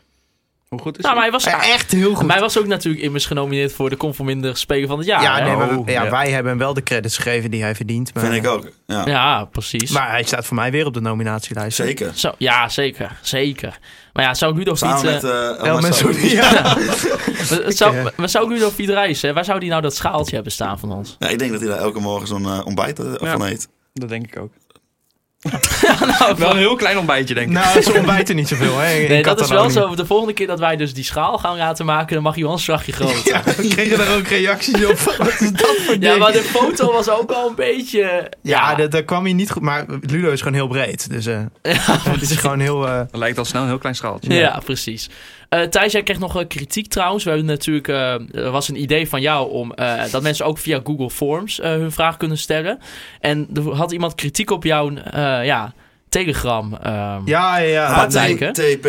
[SPEAKER 2] Hoe goed is
[SPEAKER 4] Nou, maar
[SPEAKER 2] hij?
[SPEAKER 4] hij was,
[SPEAKER 5] Ja, echt heel goed.
[SPEAKER 4] maar hij was ook natuurlijk immers genomineerd voor de conforminder speler van het jaar.
[SPEAKER 5] ja,
[SPEAKER 4] hè?
[SPEAKER 5] nee, maar we- ja,
[SPEAKER 2] ja.
[SPEAKER 5] wij hebben hem wel de credits gegeven die hij verdient. Maar,
[SPEAKER 6] oh, Vind ik ook. Ja,
[SPEAKER 4] ja precies.
[SPEAKER 5] Maar hij staat voor mij weer op de nominatielijst.
[SPEAKER 6] Zeker.
[SPEAKER 4] Zo, ja, zeker. Zeker. Maar ja, zou Ludo
[SPEAKER 6] Samen
[SPEAKER 4] Fiet... eh,
[SPEAKER 6] met eh
[SPEAKER 5] El
[SPEAKER 6] El Messaoudi.
[SPEAKER 5] Messaoudi, ja. eh,
[SPEAKER 4] maar zou, maar zou Ludo Fiet reizen? hè? Waar zou die nou dat schaaltje hebben staan van ons?
[SPEAKER 6] Ja, ik denk dat hij daar elke morgen zo'n eh, ontbijt eh,
[SPEAKER 2] Ja.
[SPEAKER 6] van eet.
[SPEAKER 2] Dat denk ik ook. Wel een heel klein ontbijtje, denk ik.
[SPEAKER 5] Nou, ze ontbijten niet zoveel, hè? in
[SPEAKER 4] Nee, dat is wel
[SPEAKER 5] Catalonië.
[SPEAKER 4] zo. De volgende keer dat wij dus die schaal gaan laten maken, dan mag hij wel een slagje groter.
[SPEAKER 5] Ja, we kregen daar ook reacties op. Wat is dat voor
[SPEAKER 4] Ja,
[SPEAKER 5] ding?
[SPEAKER 4] maar de foto was ook al een beetje... eh,
[SPEAKER 5] Ja, dat, dat kwam hier niet goed. Maar Ludo is gewoon heel breed. Dus eh het is gewoon heel... eh,
[SPEAKER 2] Dat lijkt al snel een heel klein schaaltje.
[SPEAKER 4] Ja, precies. Eh Thijs, jij kreeg nog eh, kritiek trouwens. We hebben natuurlijk, eh, er was een idee van jou om eh, dat mensen ook via Google Forms eh, hun vraag kunnen stellen. En er had iemand kritiek op jouw eh, ja, Telegram. ehm.
[SPEAKER 5] ja, ja, ja.
[SPEAKER 4] Praktijk, hè?
[SPEAKER 6] HTTP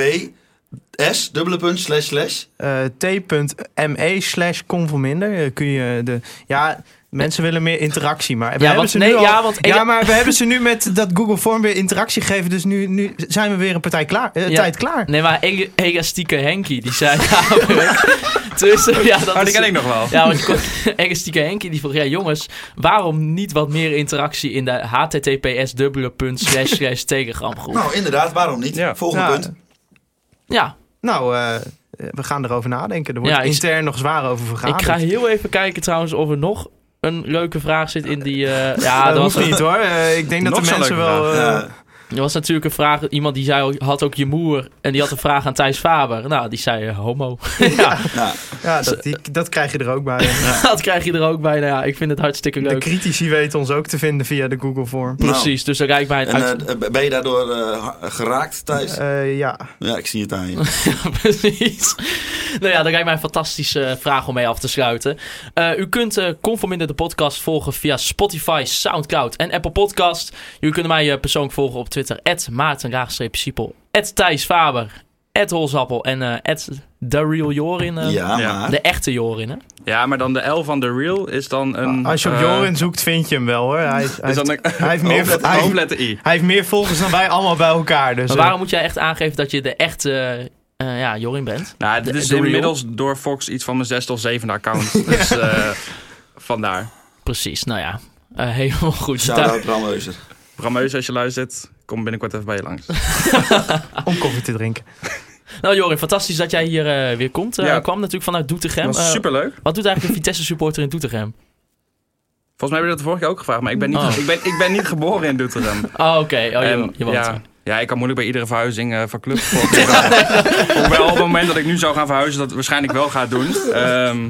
[SPEAKER 6] S, dubbele punt, slash, slash.
[SPEAKER 5] eh, t.me slash conforminder. Eh, kun je de... Ja, mensen willen meer interactie, maar
[SPEAKER 4] Ja,
[SPEAKER 5] we hebben
[SPEAKER 4] want-
[SPEAKER 5] ze
[SPEAKER 4] nee,
[SPEAKER 5] nu al-
[SPEAKER 4] ja, want-
[SPEAKER 5] ja, maar we hebben ze nu met dat Google Form weer interactie gegeven, dus nu, nu zijn we weer een partij klaar, eh,
[SPEAKER 4] Ja.
[SPEAKER 5] tijd klaar.
[SPEAKER 4] Nee, maar Ega- Egastieke Henkie, die zei namelijk... tussen, ja, dat
[SPEAKER 2] Oh, die
[SPEAKER 4] is-
[SPEAKER 2] ken ik nog wel.
[SPEAKER 4] Ja, want je kon- Egastieke Henkie die vroeg, ja jongens, waarom niet wat meer interactie in de https dubbele punt slash slash telegram groep?
[SPEAKER 6] Nou, inderdaad, waarom niet?
[SPEAKER 2] Ja.
[SPEAKER 6] Volgende
[SPEAKER 5] Ja.
[SPEAKER 6] punt.
[SPEAKER 4] Ja,
[SPEAKER 5] Nou, eh, eh, we gaan erover nadenken. Er wordt
[SPEAKER 4] Ja, ik-
[SPEAKER 5] intern nog zwaar over
[SPEAKER 4] Ik
[SPEAKER 5] vergaderd.
[SPEAKER 4] ga heel even kijken trouwens of er nog een leuke vraag zit in die... eh,
[SPEAKER 5] Eh,
[SPEAKER 4] ja, er was,
[SPEAKER 5] hoeft niet hoor. Eh, ik denk dat
[SPEAKER 2] Nog
[SPEAKER 5] de
[SPEAKER 2] zo'n
[SPEAKER 5] mensen
[SPEAKER 2] leuke
[SPEAKER 5] wel... eh,
[SPEAKER 6] Ja.
[SPEAKER 4] er was natuurlijk een vraag, iemand die zei, had ook je moer en die had een vraag aan Thijs Faber. Nou, die zei eh, homo. ja,
[SPEAKER 6] Ja.
[SPEAKER 5] ja, dat, die- dat krijg je er ook bij.
[SPEAKER 4] dat krijg je er ook bij. Nou ja, ik vind het hartstikke
[SPEAKER 5] De
[SPEAKER 4] leuk.
[SPEAKER 5] critici weten ons ook te vinden via de Google Form.
[SPEAKER 4] Precies, dus dan kijk ik bij het
[SPEAKER 6] Nou. En
[SPEAKER 4] uit...
[SPEAKER 6] eh, ben je daardoor eh, ha- geraakt, Thijs?
[SPEAKER 5] Eh, ja,
[SPEAKER 6] Ja, ik zie het aan je.
[SPEAKER 4] Precies. Nou ja, dan ga ik mij een fantastische eh, vraag om mee af te sluiten. Eh, u kunt eh Conforminder de podcast volgen via Spotify, Soundcloud en Apple Podcast. Jullie kunnen mij eh, persoonlijk volgen op Twitter. Maarten-Siepel, Thijs Faber, Holzappel en eh The Real Jorin. eh.
[SPEAKER 6] Ja,
[SPEAKER 2] Ja.
[SPEAKER 6] maar...
[SPEAKER 4] De echte Jorin, hè?
[SPEAKER 2] Ja, maar dan de L van The Real is dan een...
[SPEAKER 5] als je op
[SPEAKER 2] eh,
[SPEAKER 5] Jorin zoekt, vind je hem wel hoor. Hij, hij,
[SPEAKER 2] Is dan Oh, een
[SPEAKER 5] hij heeft meer...
[SPEAKER 2] hoofdletter,
[SPEAKER 5] hij heeft-
[SPEAKER 2] hoofdletter I.
[SPEAKER 5] Hij heeft meer volgers dan wij allemaal bij elkaar. Dus,
[SPEAKER 4] Maar
[SPEAKER 5] eh,
[SPEAKER 4] waarom moet jij echt aangeven dat je de echte eh, ja, Jorin bent?
[SPEAKER 2] Nou, dit
[SPEAKER 4] De-
[SPEAKER 2] is
[SPEAKER 4] de real?
[SPEAKER 2] inmiddels door Fox iets van mijn zesde of zevende account. Dus eh, vandaar.
[SPEAKER 4] Precies, nou ja. Eh, helemaal goed.
[SPEAKER 6] Shout-out Bram Heuser.
[SPEAKER 2] Rameus, als je luistert, kom binnenkort even bij je langs.
[SPEAKER 5] om koffie eh, te drinken.
[SPEAKER 4] Nou Jorin, fantastisch dat jij hier eh, weer komt. Eh,
[SPEAKER 2] Ja.
[SPEAKER 4] kwam natuurlijk vanuit Doetinchem.
[SPEAKER 2] Dat
[SPEAKER 4] Eh,
[SPEAKER 2] was superleuk.
[SPEAKER 4] Wat doet eigenlijk een Vitesse supporter in Doetinchem?
[SPEAKER 2] Volgens mij hebben we dat vorige keer ook gevraagd, maar ik ben niet,
[SPEAKER 4] Oh.
[SPEAKER 2] ik ben, ik ben niet geboren in Doetinchem.
[SPEAKER 4] Oh, oké. Oh, je,
[SPEAKER 2] En,
[SPEAKER 4] je woont
[SPEAKER 2] Ehm, ja,
[SPEAKER 4] er.
[SPEAKER 2] ja, ik kan moeilijk bij iedere verhuizing eh, van club. voor- Hoewel op het moment dat ik nu zou gaan verhuizen, dat waarschijnlijk wel gaat doen. Ehm,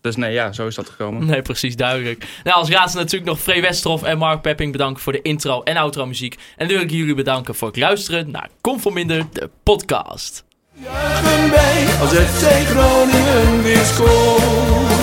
[SPEAKER 2] dus nee, ja, zo is dat gekomen.
[SPEAKER 4] Nee, precies, duidelijk. Nou, als laatste natuurlijk nog Free Westerhof en Mark Pepping bedanken voor de intro en outro muziek. En wil ik jullie bedanken voor het luisteren naar Kom voor Minder, de podcast.
[SPEAKER 1] Juichen wij als FC Groningen weer scoort.